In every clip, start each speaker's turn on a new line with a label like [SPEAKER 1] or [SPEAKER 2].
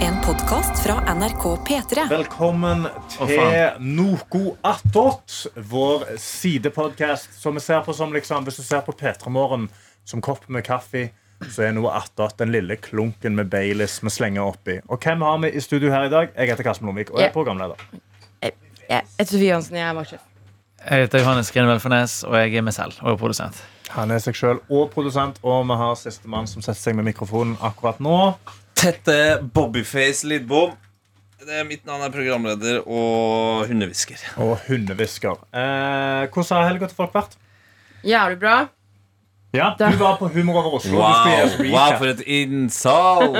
[SPEAKER 1] En podkast fra NRK P3.
[SPEAKER 2] Velkommen til Noko attåt, vår sidepodkast som vi ser på som liksom Hvis du ser på P3 Morgen som kopp med kaffe, så er noe attåt den lille klunken med Baileys vi slenger oppi. Og hvem har vi i studio her i dag? Jeg heter Karsten Lomvik og jeg
[SPEAKER 3] Ja.
[SPEAKER 2] er programleder.
[SPEAKER 3] Jeg heter Sofie Johansen, jeg er vaktsjef.
[SPEAKER 4] Jeg heter Johannes Grenveld Fornes, og jeg er meg selv og er produsent.
[SPEAKER 2] Han er seg sjøl og produsent, og vi har sistemann som setter seg med mikrofonen akkurat nå.
[SPEAKER 5] Tette Bobbyface Lidbom. Det er mitt navn er programleder og hundehvisker.
[SPEAKER 2] Og hundehvisker. Eh, hvordan har helga til folk vært?
[SPEAKER 3] Jævlig bra.
[SPEAKER 2] Ja, Du var på Humor over Oslo. Du skulle gi oss
[SPEAKER 5] Wow, wow,
[SPEAKER 2] recap.
[SPEAKER 5] for et innsalg!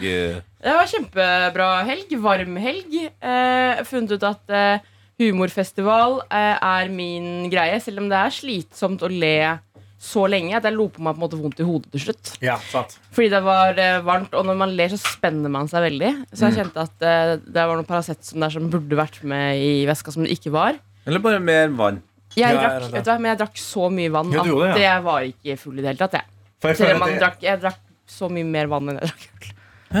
[SPEAKER 3] Det var kjempebra helg. Varm helg. Eh, funnet ut at eh, humorfestival eh, er min greie, selv om det er slitsomt å le så lenge at jeg lo på meg på en måte vondt i hodet til slutt.
[SPEAKER 2] Ja, sant.
[SPEAKER 3] Fordi det var eh, varmt, og når man ler, så spenner man seg veldig.
[SPEAKER 2] Mm.
[SPEAKER 3] Så jeg kjente at eh, det var noen Paracet som, der som burde vært med i veska, som det ikke var.
[SPEAKER 5] Eller bare mer vann.
[SPEAKER 3] Jeg
[SPEAKER 2] Ja,
[SPEAKER 3] drakk,
[SPEAKER 2] det er det.
[SPEAKER 3] vet du hva, men jeg drakk så mye vann
[SPEAKER 2] Ja,
[SPEAKER 3] at
[SPEAKER 2] du gjorde det,
[SPEAKER 3] jeg var ikke full i det hele tatt. Jeg,
[SPEAKER 2] For jeg
[SPEAKER 3] Selv om
[SPEAKER 2] føler at
[SPEAKER 3] man
[SPEAKER 2] det-
[SPEAKER 3] drakk, jeg drakk så mye mer vann enn jeg drakk øl.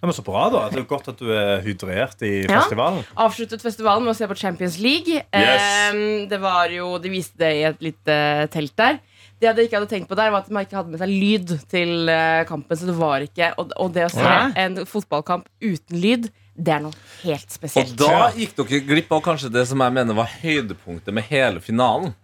[SPEAKER 2] Ja, men Så bra, da. Det er jo godt at du er hydrert i
[SPEAKER 3] Ja.
[SPEAKER 2] festivalen.
[SPEAKER 3] avsluttet festivalen med å se på Champions League.
[SPEAKER 5] Yes.
[SPEAKER 3] Ehm, det var jo, de viste det i et lite telt der. Det jeg ikke hadde tenkt på der, var at man ikke hadde med seg lyd til eh, kampen. Så det var ikke, og, og det å se
[SPEAKER 4] Nei.
[SPEAKER 3] en fotballkamp uten lyd, det er noe helt
[SPEAKER 5] Og
[SPEAKER 3] spesielt.
[SPEAKER 5] da gikk dere glipp av kanskje det som jeg mener var høydepunktet med hele finalen.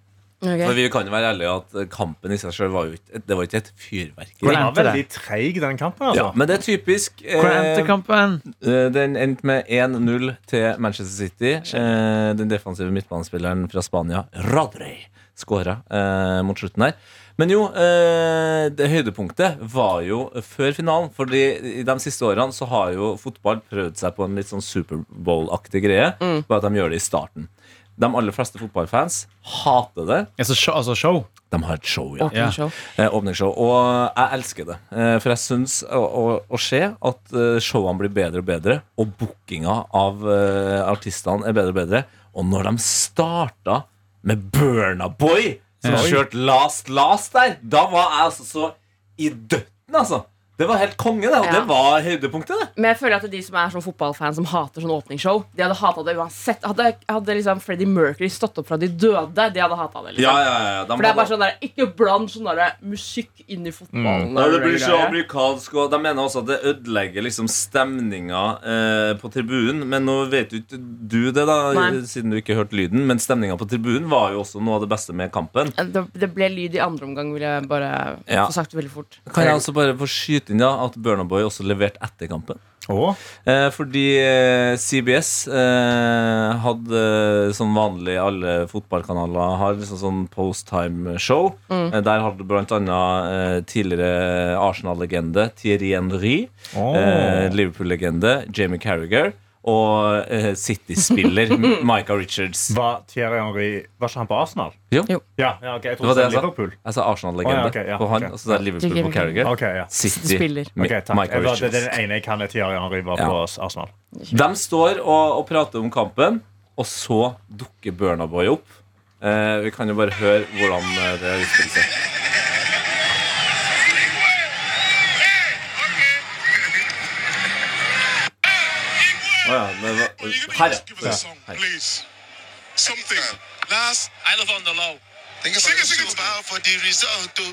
[SPEAKER 3] Ok.
[SPEAKER 5] For vi kan jo være ærlige at kampen i seg sjøl var jo ikke Det var ikke et
[SPEAKER 2] Den
[SPEAKER 5] fyrverkeri.
[SPEAKER 4] Hvordan
[SPEAKER 2] var
[SPEAKER 4] endte det?
[SPEAKER 2] veldig treig, den kampen.
[SPEAKER 5] Ja,
[SPEAKER 2] altså
[SPEAKER 5] men det er typisk.
[SPEAKER 4] Hvor endte kampen?
[SPEAKER 5] Eh, Den endte med 1-0 til Manchester City. Eh, Den defensive midtbanespilleren fra Spania, Rodri, skåra eh, mot slutten der. Men jo, eh, det høydepunktet var jo før finalen. Fordi i de siste årene så har jo fotball prøvd seg på en litt sånn Superbowl-aktig greie. Bare at de gjør det i starten. De aller fleste fotballfans hater det.
[SPEAKER 4] Altså show? Altså show.
[SPEAKER 5] De har et show, ja.
[SPEAKER 4] Ja.
[SPEAKER 3] Åpningsshow.
[SPEAKER 5] Eh, åpningsshow. Og jeg elsker det. Eh, for jeg syns å, å, å se at eh, showene blir bedre og bedre, og bookinga av eh, artistene er bedre og bedre. Og når de starta med Burna Boy, som
[SPEAKER 4] Ja.
[SPEAKER 5] kjørte Last Last der, da var jeg altså så i døtten, altså. Det var helt konge, det. Og
[SPEAKER 3] Ja.
[SPEAKER 5] det var høydepunktet, det.
[SPEAKER 3] Men jeg føler at de som er sånn fotballfan som hater sånn åpningsshow, de hadde hata det uansett. Hadde, hadde liksom Freddie Mercury stått opp fra de døde, de hadde hata det. liksom
[SPEAKER 5] De
[SPEAKER 3] For det er
[SPEAKER 5] hadde-
[SPEAKER 3] bare sånn der, Ikke bland sånn der musikk inn i fotballen.
[SPEAKER 5] Nei,
[SPEAKER 3] og
[SPEAKER 5] det blir
[SPEAKER 3] greier.
[SPEAKER 5] så amerikansk Og de mener også at det ødelegger liksom stemninga eh, på tribunen. Men nå vet jo ikke du det, da,
[SPEAKER 3] Nei.
[SPEAKER 5] siden du ikke hørte lyden. Men stemninga på tribunen var jo også noe av det beste med kampen.
[SPEAKER 3] Det, det ble lyd i andre omgang, vil jeg bare
[SPEAKER 5] Ja.
[SPEAKER 3] få sagt veldig fort.
[SPEAKER 5] Kan jeg altså bare få skyte inn da at Burna Boy også leverte etter kampen?
[SPEAKER 2] Å,
[SPEAKER 5] Eh, fordi eh, CBS eh, hadde, eh, som vanlig alle fotballkanaler har, liksom sånn post-time-show. Eh, der hadde blant annet eh, tidligere Arsenal-legende Thierry Henry.
[SPEAKER 2] å.
[SPEAKER 5] eh, Liverpool-legende Jamie Carragher og eh, City-spiller Micah Richards.
[SPEAKER 2] Var Thierry Henry Var ikke han på Arsenal?
[SPEAKER 5] Jo.
[SPEAKER 3] Jo.
[SPEAKER 2] Ja, ja, ok, jeg
[SPEAKER 5] Det var
[SPEAKER 2] trodde det
[SPEAKER 5] det
[SPEAKER 2] var
[SPEAKER 5] jeg sa.
[SPEAKER 2] Liverpool.
[SPEAKER 5] Jeg sa Altså Arsenal-legende
[SPEAKER 2] Å, ja, ok, ja,
[SPEAKER 5] på han,
[SPEAKER 2] ok.
[SPEAKER 5] og så sa jeg Liverpool på Carragher.
[SPEAKER 2] Ok, ja.
[SPEAKER 5] City,
[SPEAKER 3] City-spiller.
[SPEAKER 5] Mi-
[SPEAKER 2] Ok, takk.
[SPEAKER 5] Micah
[SPEAKER 2] Jeg var- det er
[SPEAKER 5] Richards.
[SPEAKER 2] den ene jeg kan er Thierry Henry var på Arsenal.
[SPEAKER 5] De står og, og prater om kampen, og så dukker Burna Boy opp. Eh, vi kan jo bare høre hvordan eh, det utspiller seg. Å ja, det var-
[SPEAKER 6] Well, you can
[SPEAKER 5] Her,
[SPEAKER 6] just give us
[SPEAKER 5] ja.
[SPEAKER 6] a song,
[SPEAKER 5] Her.
[SPEAKER 6] please. Something. Last. I love on the low. Think sing it, sing it. Bow for the result. oh.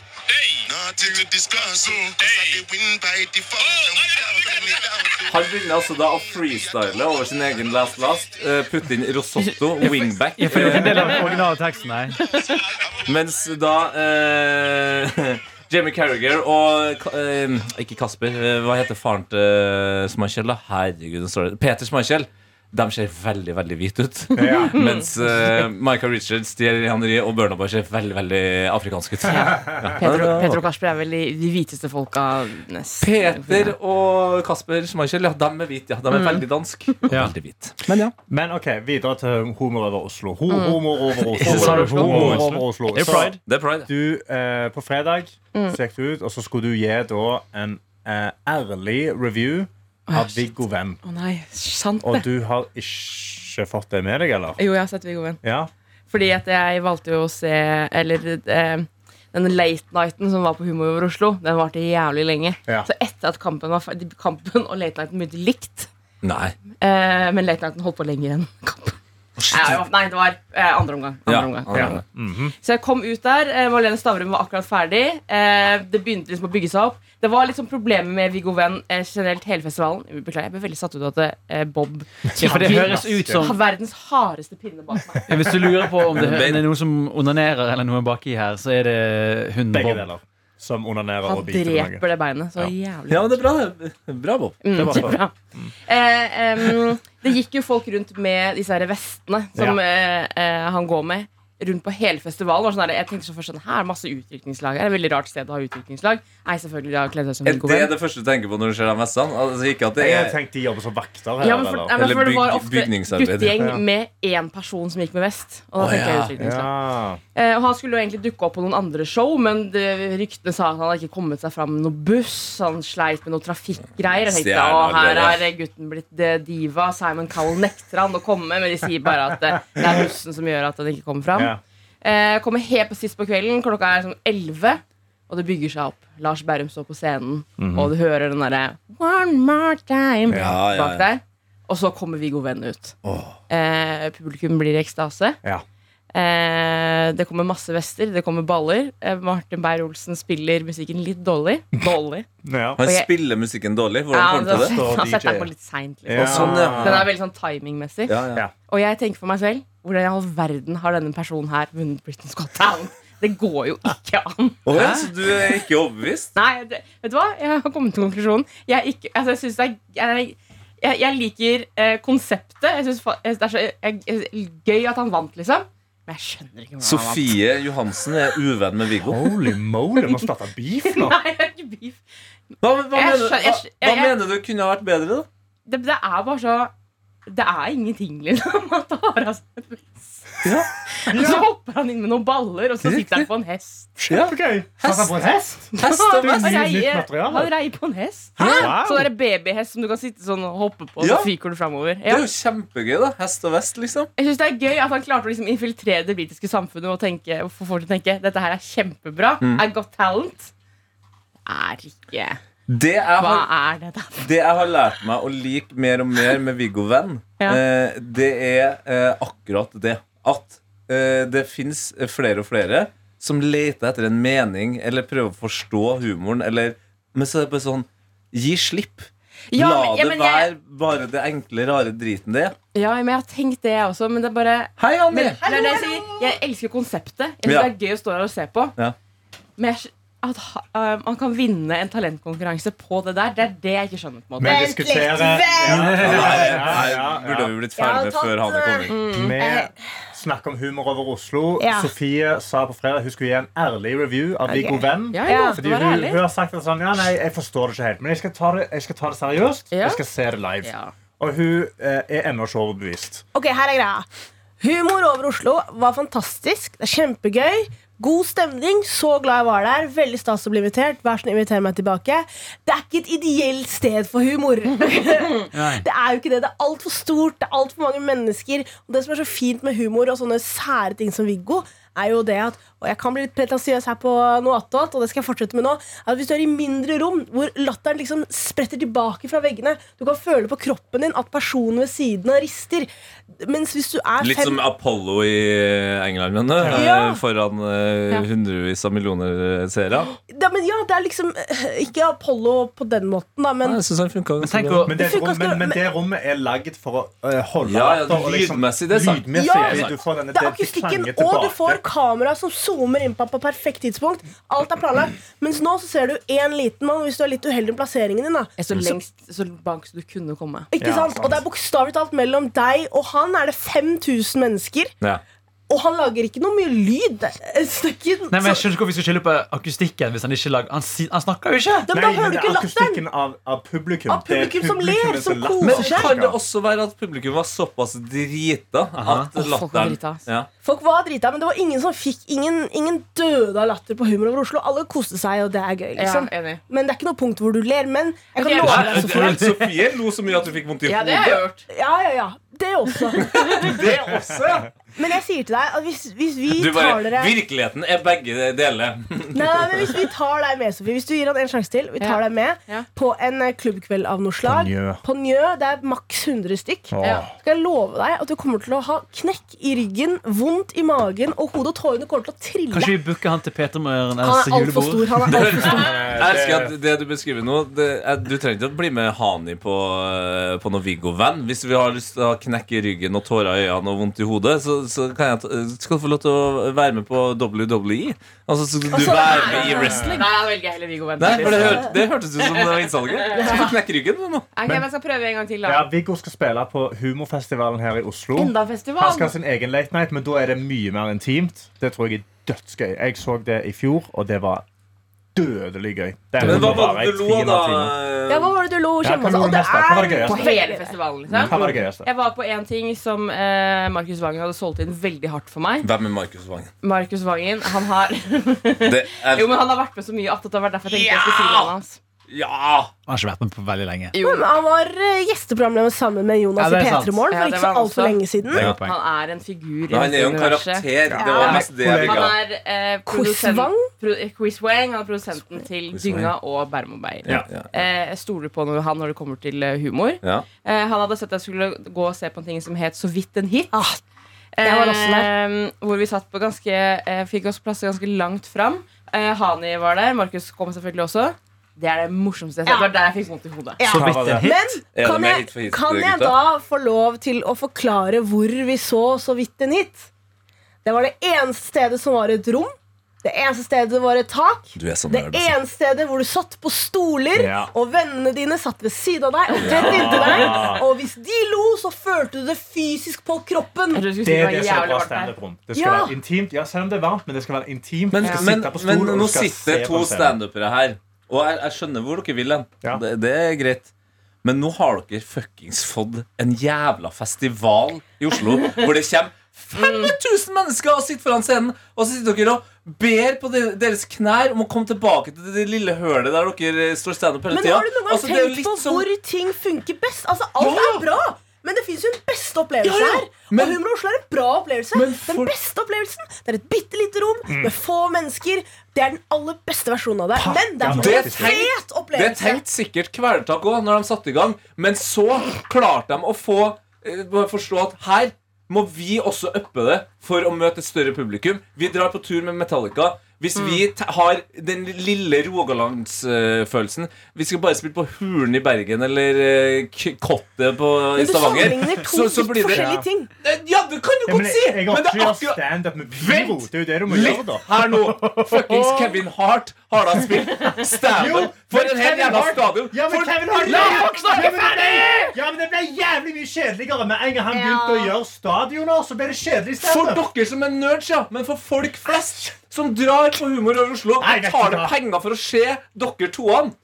[SPEAKER 6] Nothing to discuss. oh, Cause I did win by default. and without any doubt. oh.
[SPEAKER 5] Han begynner altså da å freestyle over sin egen Last Last. eh, Putte inn Rosotto, wingback.
[SPEAKER 4] Ja, for det var ikke en
[SPEAKER 5] eh,
[SPEAKER 4] del av den originale teksten, nei.
[SPEAKER 5] Mens da eh, Jamie Carragher og Ka- eh, Ikke Kasper, eh, hva heter faren til Schmeichel, da? Herregud, den står der. Peter Schmeichel. De ser veldig veldig hvite ut.
[SPEAKER 2] Ja.
[SPEAKER 5] Mens eh, Michael Richards, Thierry Henry og Burna Boy ser veldig veldig afrikanske ut.
[SPEAKER 3] Petro,
[SPEAKER 5] Ja, det-
[SPEAKER 3] Petro og Kasper er vel de de hviteste folka nesten.
[SPEAKER 5] Peter og Kasper Schmeichel, ja, de er hvite. Ja. De er veldig dansk. Og
[SPEAKER 4] Ja.
[SPEAKER 5] veldig hvit. Men ja.
[SPEAKER 2] Men ok, videre til Humor over Oslo. Ho Humor over Oslo.
[SPEAKER 4] Sa du Humor over
[SPEAKER 2] Humor over Oslo.
[SPEAKER 4] Det er pride.
[SPEAKER 5] Det er pride.
[SPEAKER 2] du eh, på fredag så gikk du ut, og så skulle du gi da en eh, ærlig review av Viggo Venn.
[SPEAKER 3] Å nei, sant
[SPEAKER 2] Og
[SPEAKER 3] det.
[SPEAKER 2] du har ikke fått det med deg, eller?
[SPEAKER 3] Jo, jeg har sett Viggo Venn.
[SPEAKER 2] Ja.
[SPEAKER 3] Fordi at jeg valgte jo å se Eller eh, den late nighten som var på Humor over Oslo, den varte jævlig lenge.
[SPEAKER 2] Ja.
[SPEAKER 3] Så etter at kampen, var ferdig, kampen og late nighten begynte likt,
[SPEAKER 5] Nei.
[SPEAKER 3] eh, men late nighten holdt på lenger enn kampen. Eh, Nei, det var eh, andre omgang. Andre
[SPEAKER 5] Ja,
[SPEAKER 3] omgang.
[SPEAKER 5] ja.
[SPEAKER 2] Mhm.
[SPEAKER 3] Så jeg kom ut der. eh, Marlene Stavrum var akkurat ferdig. eh, Det begynte liksom å bygge seg opp. Det var liksom problemer med Viggo Venn eh, generelt hele festivalen. Beklager, jeg ble veldig satt ut av at eh, Bob
[SPEAKER 4] Ja, for det høres ut
[SPEAKER 3] har
[SPEAKER 4] som
[SPEAKER 3] verdens hardeste pinne bak meg.
[SPEAKER 4] Hvis du lurer på om det er noen som onanerer eller noe baki her, så er det hun
[SPEAKER 2] Begge
[SPEAKER 4] Bob.
[SPEAKER 2] deler. Som onanerer
[SPEAKER 3] Han
[SPEAKER 2] og biter i magen.
[SPEAKER 3] dreper det beinet så jævlig.
[SPEAKER 5] ja, men det er bra. Bra, Bob.
[SPEAKER 2] Det
[SPEAKER 3] Mm,
[SPEAKER 2] var bra.
[SPEAKER 3] kjempebra. Eh, em, det gikk jo folk rundt med disse her vestene som
[SPEAKER 2] Ja.
[SPEAKER 3] eh, eh, han går med. Rundt på hele festivalen. Og sånn der, jeg tenkte så først sånn, her er masse utrykningslag. Her er et veldig rart sted å ha utrykningslag. Nei, selvfølgelig, jeg har kledd meg som
[SPEAKER 5] Er
[SPEAKER 3] Viggo
[SPEAKER 5] det
[SPEAKER 3] Venn.
[SPEAKER 5] det første du tenker på når du ser de messene? Altså, ikke at det
[SPEAKER 2] Jeg
[SPEAKER 5] er
[SPEAKER 2] tenkte de jobber som vakter her.
[SPEAKER 3] Ja, men for,
[SPEAKER 2] eller?
[SPEAKER 3] ja, men
[SPEAKER 5] Eller
[SPEAKER 3] for det var
[SPEAKER 5] byg-
[SPEAKER 3] ofte
[SPEAKER 5] bygningsarbeider.
[SPEAKER 3] guttegjeng
[SPEAKER 2] Ja.
[SPEAKER 3] med én person som gikk med vest. Og da
[SPEAKER 5] Å,
[SPEAKER 3] tenkte
[SPEAKER 5] ja.
[SPEAKER 3] jeg utrykningslag.
[SPEAKER 2] Ja.
[SPEAKER 3] Eh, og han skulle jo egentlig dukke opp på noen andre show, men det, ryktene sa at han hadde ikke kommet seg fram med noe buss. Han sleit med noen trafikkgreier. Jeg tenkte
[SPEAKER 5] Stjerna
[SPEAKER 3] å, her
[SPEAKER 5] allerede.
[SPEAKER 3] har gutten blitt eh, diva. Simon Cowell nekter han å komme, men de sier bare at eh, det er bussen som gjør at han ikke kommer fram.
[SPEAKER 2] Ja.
[SPEAKER 3] Eh, kommer helt på sist på kvelden. Klokka er sånn 11, og det bygger seg opp. Lars Berrum står på scenen,
[SPEAKER 5] Mhm.
[SPEAKER 3] og du hører den derre One more time
[SPEAKER 5] Ja, ja,
[SPEAKER 3] bak
[SPEAKER 5] ja.
[SPEAKER 3] der. Og så kommer Viggo Venn ut.
[SPEAKER 5] Åh.
[SPEAKER 3] Eh, publikum blir i ekstase.
[SPEAKER 2] Ja.
[SPEAKER 3] Eh, det kommer masse vester, det kommer baller. Eh, Martin Beyer-Olsen spiller musikken litt dårlig. Dårlig.
[SPEAKER 2] Ja.
[SPEAKER 5] Han
[SPEAKER 3] Og jeg-
[SPEAKER 5] spiller musikken dårlig. Hvordan
[SPEAKER 3] Ja,
[SPEAKER 5] får
[SPEAKER 3] han
[SPEAKER 5] han til det?
[SPEAKER 2] Står
[SPEAKER 3] han setter
[SPEAKER 2] DJ.
[SPEAKER 3] den på litt seint. Liksom.
[SPEAKER 5] Å, sånn, ja.
[SPEAKER 3] Den er veldig sånn timingmessig.
[SPEAKER 5] Ja, ja.
[SPEAKER 2] Ja.
[SPEAKER 3] Og jeg tenker for meg selv hvordan i all verden har denne personen her vunnet Britain Scott Town? Det går jo ikke an.
[SPEAKER 5] Å, ja, så du er ikke overbevist?
[SPEAKER 3] Nei, det, vet du hva? Jeg har kommet til konklusjonen. Jeg, er ikke, altså, jeg, synes det er, jeg, jeg, jeg liker eh, konseptet. Jeg synes, fa- jeg, det er så jeg, jeg, gøy at han vant, liksom. Men jeg skjønner ikke hvordan han vant.
[SPEAKER 5] Sofie Johansen er uvenn med Viggo.
[SPEAKER 2] Holy moly, vi har starta beef nå.
[SPEAKER 3] Nei, det er ikke beef.
[SPEAKER 5] Hva, hva,
[SPEAKER 3] Jeg
[SPEAKER 5] mener,
[SPEAKER 3] skjø-
[SPEAKER 5] hva,
[SPEAKER 3] jeg skjø-
[SPEAKER 5] hva
[SPEAKER 3] jeg-
[SPEAKER 5] mener du kunne ha vært bedre, da?
[SPEAKER 3] det, det er bare så Det er ingenting, liksom. Han tar av seg
[SPEAKER 5] Ja.
[SPEAKER 3] Og så hopper han inn med noen baller, og så sitter han på en hest.
[SPEAKER 2] Kjempegøy. Satt han på en hest?
[SPEAKER 5] Hest og
[SPEAKER 2] Det er
[SPEAKER 5] mest.
[SPEAKER 2] mye
[SPEAKER 3] rei-
[SPEAKER 2] nytt materiale.
[SPEAKER 3] han rei på en hest.
[SPEAKER 2] Wow.
[SPEAKER 3] Sånn der babyhest som du kan sitte sånn og hoppe på, og
[SPEAKER 5] Ja.
[SPEAKER 3] så fyker du framover.
[SPEAKER 5] Det
[SPEAKER 3] Ja.
[SPEAKER 5] er jo kjempegøy, da. Hest og vest, liksom.
[SPEAKER 3] Jeg synes Det er gøy at han klarte å liksom infiltrere det britiske samfunnet og tenke, og få folk til å tenke dette her er kjempebra.
[SPEAKER 5] Mm.
[SPEAKER 3] Er godt talent. Er ikke
[SPEAKER 5] Det jeg
[SPEAKER 3] Hva
[SPEAKER 5] har,
[SPEAKER 3] er det, da?
[SPEAKER 5] det jeg har lært meg å like mer og mer med Viggo Venn,
[SPEAKER 3] Ja.
[SPEAKER 5] eh, det er eh, akkurat det. At eh, det fins flere og flere som leter etter en mening eller prøver å forstå humoren, eller Men så er det bare sånn Gi slipp.
[SPEAKER 3] Ja,
[SPEAKER 5] La
[SPEAKER 3] men- ja,
[SPEAKER 5] det
[SPEAKER 3] men
[SPEAKER 5] være
[SPEAKER 3] jeg-
[SPEAKER 5] bare det enkle, rare driten det er.
[SPEAKER 3] Ja, men jeg har tenkt det, jeg også, men det er bare
[SPEAKER 5] Hei, Anni!
[SPEAKER 3] Men, det er det jeg, sier. jeg elsker konseptet. Jeg synes
[SPEAKER 5] Ja.
[SPEAKER 3] Det er gøy å stå her og se på.
[SPEAKER 5] Ja.
[SPEAKER 3] Men jeg, skj- at ha- um, man kan vinne en talentkonkurranse på det der, det er det jeg ikke skjønner. på en måte
[SPEAKER 2] Vi diskuterer ja,
[SPEAKER 5] Nei,
[SPEAKER 2] ja, ja,
[SPEAKER 5] her
[SPEAKER 2] ja.
[SPEAKER 5] burde vi blitt ferdig med før han er kommet.
[SPEAKER 3] Mm. Eh.
[SPEAKER 2] Vi snakker om humor over Oslo.
[SPEAKER 7] Ja.
[SPEAKER 2] Sofie sa på fredag hun skulle gi en ærlig review av Viggo Venn.
[SPEAKER 3] Ja, jeg lovte
[SPEAKER 2] Fordi
[SPEAKER 3] å
[SPEAKER 2] hun,
[SPEAKER 3] være ærlig.
[SPEAKER 2] hun har sagt at sånn, ja, nei, jeg forstår det ikke helt, men jeg skal ta det, jeg skal ta det seriøst.
[SPEAKER 3] Ja.
[SPEAKER 2] Jeg skal se det live.
[SPEAKER 3] Ja.
[SPEAKER 2] Og hun eh, er ennå ikke overbevist.
[SPEAKER 7] Ok, her er greia. Humor over Oslo var fantastisk. Det er kjempegøy. God stemning. Så glad jeg var der. Veldig stas å bli invitert. Vær så snill, inviter meg tilbake. Det er ikke et ideelt sted for humor. det er jo ikke det. Det er altfor stort. Det er altfor mange mennesker. Og det som er så fint med humor og sånne sære ting som Viggo, er jo det at og jeg kan bli litt pretensiøs her på noe attåt, og det skal jeg fortsette med nå. At hvis du er i mindre rom, hvor latteren liksom spretter tilbake fra veggene Du kan føle på kroppen din at personen ved siden av rister. Mens hvis du er
[SPEAKER 5] Litt som Apollo i England, men eh,
[SPEAKER 7] Ja.
[SPEAKER 5] foran eh, hundrevis av millioner eh, seere.
[SPEAKER 7] ja, men ja, det er liksom eh, ikke Apollo på den måten, da, men
[SPEAKER 5] Jeg syns han funka
[SPEAKER 4] Men tenk å
[SPEAKER 2] Men det,
[SPEAKER 7] Det funker
[SPEAKER 2] rom, men,
[SPEAKER 7] ganske-
[SPEAKER 2] men det rommet er lagd for å eh, holde
[SPEAKER 5] Ja, ja,
[SPEAKER 2] latter og
[SPEAKER 5] lydmessig, det er sant.
[SPEAKER 2] lydmessig,
[SPEAKER 7] Ja,
[SPEAKER 2] fordi
[SPEAKER 5] sant.
[SPEAKER 2] du får denne
[SPEAKER 7] det
[SPEAKER 2] det-
[SPEAKER 7] er
[SPEAKER 2] de
[SPEAKER 7] akustikken,
[SPEAKER 2] klanger
[SPEAKER 7] og du
[SPEAKER 2] tilbake.
[SPEAKER 7] får kamera som zoomer inn på på perfekt tidspunkt. Alt er planlagt. Mens nå så ser du én liten mann, og hvis du er litt uheldig med plasseringen din, da,
[SPEAKER 3] Jeg står lengst så bak som du kunne komme.
[SPEAKER 7] Ikke
[SPEAKER 2] Ja,
[SPEAKER 7] sant?
[SPEAKER 2] sant.
[SPEAKER 7] Og det er bokstavelig talt mellom deg og han er det 5000 mennesker.
[SPEAKER 5] Ja.
[SPEAKER 7] Og han lager ikke noe mye lyd. eh, Snakken,
[SPEAKER 4] Nei, men Jeg
[SPEAKER 7] så,
[SPEAKER 4] skjønner ikke hvorfor vi skal skylde på akustikken hvis han ikke lager Han, si, han snakker jo ikke!
[SPEAKER 7] da,
[SPEAKER 2] Nei,
[SPEAKER 7] da
[SPEAKER 2] men
[SPEAKER 7] hører du
[SPEAKER 2] det
[SPEAKER 7] ikke
[SPEAKER 2] er
[SPEAKER 7] latteren.
[SPEAKER 2] akustikken av, av publikum.
[SPEAKER 7] Av
[SPEAKER 2] Det er
[SPEAKER 7] publikum som ler,
[SPEAKER 2] publikummets
[SPEAKER 7] som
[SPEAKER 2] latter.
[SPEAKER 7] koser
[SPEAKER 5] Men
[SPEAKER 7] seg.
[SPEAKER 5] kan det også være at publikum var såpass drita at
[SPEAKER 3] Å, folk var
[SPEAKER 5] latteren
[SPEAKER 3] drita, ass.
[SPEAKER 5] ja.
[SPEAKER 7] Folk var drita, men det var ingen som fikk Ingen, ingen døde av latter på Humor over Oslo. Alle koste seg, og det er gøy.
[SPEAKER 3] Ja,
[SPEAKER 7] liksom
[SPEAKER 3] enig.
[SPEAKER 7] Men det er ikke noe punkt hvor du ler. Men jeg kan
[SPEAKER 3] Ok,
[SPEAKER 7] love
[SPEAKER 3] jeg
[SPEAKER 7] deg, Sofie.
[SPEAKER 5] Sofie lo så mye at hun fikk vondt i
[SPEAKER 3] Ja, det har jeg
[SPEAKER 5] hodet.
[SPEAKER 3] gjort.
[SPEAKER 7] Ja, ja, ja. Det også.
[SPEAKER 5] Det også, ja!
[SPEAKER 7] Men jeg sier til deg at hvis, hvis vi
[SPEAKER 5] Du
[SPEAKER 7] tar
[SPEAKER 5] bare,
[SPEAKER 7] dere
[SPEAKER 5] Virkeligheten er begge deler.
[SPEAKER 7] Nei, nei, men hvis vi tar deg med, Sofie Hvis du gir han en sjanse til, vi tar
[SPEAKER 3] Ja.
[SPEAKER 7] deg med
[SPEAKER 3] Ja.
[SPEAKER 7] på en eh, klubbkveld av noe
[SPEAKER 2] På
[SPEAKER 7] slag.
[SPEAKER 2] Njø.
[SPEAKER 7] På Njø. Det er maks 100 stykk.
[SPEAKER 2] Åh.
[SPEAKER 3] Ja.
[SPEAKER 7] Skal jeg love deg at du kommer til å ha knekk i ryggen, vondt i magen, og hodet og tårene kommer til å trille.
[SPEAKER 4] Kanskje vi booker han til Peter Møren eller
[SPEAKER 7] han er altfor
[SPEAKER 4] julebord?
[SPEAKER 7] stor. Han er alt for stor.
[SPEAKER 5] Jeg elsker at Eh, det du beskriver nå det er, Du trenger ikke å bli med Hani på, eh, på noe Viggo-venn. Hvis vi har lyst til å ha knekk i ryggen og tårer i øynene og vondt i hodet, så, så kan jeg, ta- eh, skal du få lov til å være med på WWE. Altså, så skal du være med i wrestling.
[SPEAKER 3] Nei, da velger jeg heller Viggo Venn.
[SPEAKER 5] Nei, for det, hør, det hørtes ut som det var innsalget. Du skal knekke ryggen nå.
[SPEAKER 3] Ok, men jeg skal prøve en gang til, da.
[SPEAKER 2] Ja, Viggo skal spille på humorfestivalen her i Oslo.
[SPEAKER 3] Enda
[SPEAKER 2] Han skal ha
[SPEAKER 3] festival.
[SPEAKER 2] sin egen late night, men da er det mye mer intimt. Det tror jeg er dødsgøy. Jeg så det i fjor, og det var dødelig gøy. Det er
[SPEAKER 5] Men hva
[SPEAKER 2] bare
[SPEAKER 5] var det
[SPEAKER 2] et
[SPEAKER 5] du
[SPEAKER 2] fin
[SPEAKER 5] lo,
[SPEAKER 2] av
[SPEAKER 5] da? eh,
[SPEAKER 2] timen.
[SPEAKER 7] Ja, hva var det du lo
[SPEAKER 2] Ja, hva
[SPEAKER 7] kjempe
[SPEAKER 2] lo
[SPEAKER 7] Og
[SPEAKER 2] du
[SPEAKER 7] det
[SPEAKER 2] mest av? Hva var det
[SPEAKER 7] er
[SPEAKER 2] gøyeste?
[SPEAKER 3] På hele festivalen,
[SPEAKER 2] Hva
[SPEAKER 3] liksom.
[SPEAKER 2] var det gøyeste?
[SPEAKER 3] Jeg var på en ting som eh, Markus Vangen hadde solgt inn veldig hardt for meg.
[SPEAKER 5] Hvem er Markus Vangen?
[SPEAKER 3] Markus Vangen, han har
[SPEAKER 5] Det er
[SPEAKER 3] Jo, men han har vært med så mye at det har vært derfor jeg tenkte jeg skulle si navnet hans.
[SPEAKER 5] Ja!
[SPEAKER 4] Han har ikke vært med på veldig lenge.
[SPEAKER 7] Ja, men Han var eh, gjesteprogramleder sammen med Jonas
[SPEAKER 4] Ja,
[SPEAKER 7] i
[SPEAKER 4] det er sant.
[SPEAKER 7] P3 Morgen
[SPEAKER 3] Ja,
[SPEAKER 7] for
[SPEAKER 3] det
[SPEAKER 7] ikke så
[SPEAKER 3] var han
[SPEAKER 7] altfor
[SPEAKER 3] også.
[SPEAKER 7] lenge siden.
[SPEAKER 4] Det er et godt poeng.
[SPEAKER 3] Han er en figur i
[SPEAKER 5] Men han er jo en
[SPEAKER 3] universet.
[SPEAKER 5] karakter. Det var mest det jeg
[SPEAKER 3] Han
[SPEAKER 5] liker.
[SPEAKER 3] er eh,
[SPEAKER 7] Quizvang?
[SPEAKER 3] produsent, pro, eh, Quizwang. Han er produsenten til
[SPEAKER 5] Quizwang.
[SPEAKER 3] Dynga og Bærumobeier.
[SPEAKER 5] Ja, ja, ja.
[SPEAKER 3] Eh, jeg stoler på noe, han når det kommer til eh, humor.
[SPEAKER 5] Ja.
[SPEAKER 3] Eh, han hadde sett at jeg skulle gå og se på en ting som het Så vidt en hit.
[SPEAKER 7] Ah, jeg var også
[SPEAKER 3] Eh, hvor vi satt på ganske eh, Fikk oss plasser ganske langt fram. Eh, Hani var der. Markus kom selvfølgelig også. Det er det morsomste jeg har sett. Det var der jeg fikk vondt i hodet.
[SPEAKER 4] Så vidt en hit.
[SPEAKER 7] Men
[SPEAKER 5] Er det
[SPEAKER 7] kan
[SPEAKER 5] mer
[SPEAKER 7] jeg,
[SPEAKER 5] hit for hit,
[SPEAKER 7] kan jeg
[SPEAKER 5] gutta?
[SPEAKER 7] da få lov til å forklare hvor vi så så vidt en hit? Det var det eneste stedet som var et rom. Det eneste stedet det var et tak.
[SPEAKER 5] Du er sånn
[SPEAKER 7] Det
[SPEAKER 5] der, Basse.
[SPEAKER 7] ene stedet hvor du satt på stoler,
[SPEAKER 2] Ja.
[SPEAKER 7] og vennene dine satt ved siden av deg og tett inntil deg. Og hvis de lo, så følte du det fysisk på kroppen.
[SPEAKER 3] Jeg trodde du skulle si
[SPEAKER 2] Det er
[SPEAKER 3] var
[SPEAKER 2] det som er
[SPEAKER 3] jævlig
[SPEAKER 2] bra
[SPEAKER 3] varmt der.
[SPEAKER 2] standup-rom. Det skal
[SPEAKER 7] Ja.
[SPEAKER 2] være intimt. Ja, selv om det er varmt, men det skal være intimt.
[SPEAKER 5] Men,
[SPEAKER 2] Du skal
[SPEAKER 5] men,
[SPEAKER 2] sitte på stol,
[SPEAKER 5] men
[SPEAKER 2] og du
[SPEAKER 5] nå
[SPEAKER 2] skal se
[SPEAKER 5] sitter
[SPEAKER 2] på
[SPEAKER 5] to
[SPEAKER 2] scenen.
[SPEAKER 5] standupere her, og jeg, jeg skjønner hvor dere vil hen.
[SPEAKER 2] Ja.
[SPEAKER 5] Det, det er greit. Men nå har dere fuckings fått en jævla festival i Oslo hvor det kommer 5000 mennesker og sitter foran scenen, og så sitter dere og ber på de- deres knær om å komme tilbake til det lille hølet der dere står standup hele Altså,
[SPEAKER 7] Men
[SPEAKER 5] tida.
[SPEAKER 7] har du noen gang tenkt på hvor ting funker best? Altså, Alt
[SPEAKER 5] Ja.
[SPEAKER 7] er bra, men det fins jo en beste opplevelse
[SPEAKER 5] Ja, ja.
[SPEAKER 7] her.
[SPEAKER 5] Men-
[SPEAKER 7] og Humor Oslo er en bra opplevelse.
[SPEAKER 5] Men for- Mm.
[SPEAKER 7] Den beste opplevelsen Det er et bitte lite rom med få mennesker. Det er den aller beste versjonen av det. Men det
[SPEAKER 2] ja,
[SPEAKER 7] er
[SPEAKER 5] det er
[SPEAKER 7] en
[SPEAKER 5] tenkt-
[SPEAKER 7] fet
[SPEAKER 5] Det
[SPEAKER 7] opplevelse.
[SPEAKER 5] tenkte sikkert Kvelertak òg når de satte i gang, men så klarte de å få eh, bare forstå at her må vi også uppe det for å møte et større publikum. Vi drar på tur med Metallica. Hvis vi
[SPEAKER 7] Mm.
[SPEAKER 5] t har den lille Rogalandsfølelsen Vi skal bare spille på Hulen i Bergen eller eh, K- Kottet på i
[SPEAKER 7] Men du
[SPEAKER 5] Stavanger.
[SPEAKER 7] sammenligner
[SPEAKER 5] Så,
[SPEAKER 7] to
[SPEAKER 5] så blir
[SPEAKER 7] vidt
[SPEAKER 5] det
[SPEAKER 7] forskjellige ting.
[SPEAKER 5] Ja, det kan du
[SPEAKER 2] Ja, men
[SPEAKER 5] godt si!
[SPEAKER 2] jeg, jeg
[SPEAKER 5] Men det
[SPEAKER 2] orker
[SPEAKER 5] er
[SPEAKER 2] ikke å
[SPEAKER 5] akkurat
[SPEAKER 2] standup med pyro.
[SPEAKER 5] Vent
[SPEAKER 2] Det er jo det du må gjøre,
[SPEAKER 5] Litt
[SPEAKER 2] da.
[SPEAKER 5] her nå! Fuckings Kevin Hart har da spilt
[SPEAKER 2] Jo,
[SPEAKER 5] standup for
[SPEAKER 2] men
[SPEAKER 5] en hel
[SPEAKER 2] Kevin
[SPEAKER 5] jævla
[SPEAKER 2] Hart-
[SPEAKER 5] stadion.
[SPEAKER 2] Ja, men
[SPEAKER 5] For-
[SPEAKER 2] Kevin Hart
[SPEAKER 5] La
[SPEAKER 2] Ja,
[SPEAKER 5] folk snakke
[SPEAKER 2] men det ble- Ja, men det ble jævlig mye kjedeligere med en gang han begynte å gjøre stadioner. Så ble det kjedelig
[SPEAKER 5] For
[SPEAKER 2] standup.
[SPEAKER 5] dere som er nerds, ja, men for folk flest som drar på Humor over Oslo
[SPEAKER 2] Nei,
[SPEAKER 5] og
[SPEAKER 2] vet du
[SPEAKER 5] tar det
[SPEAKER 2] hva?
[SPEAKER 5] penger for å se dere toene.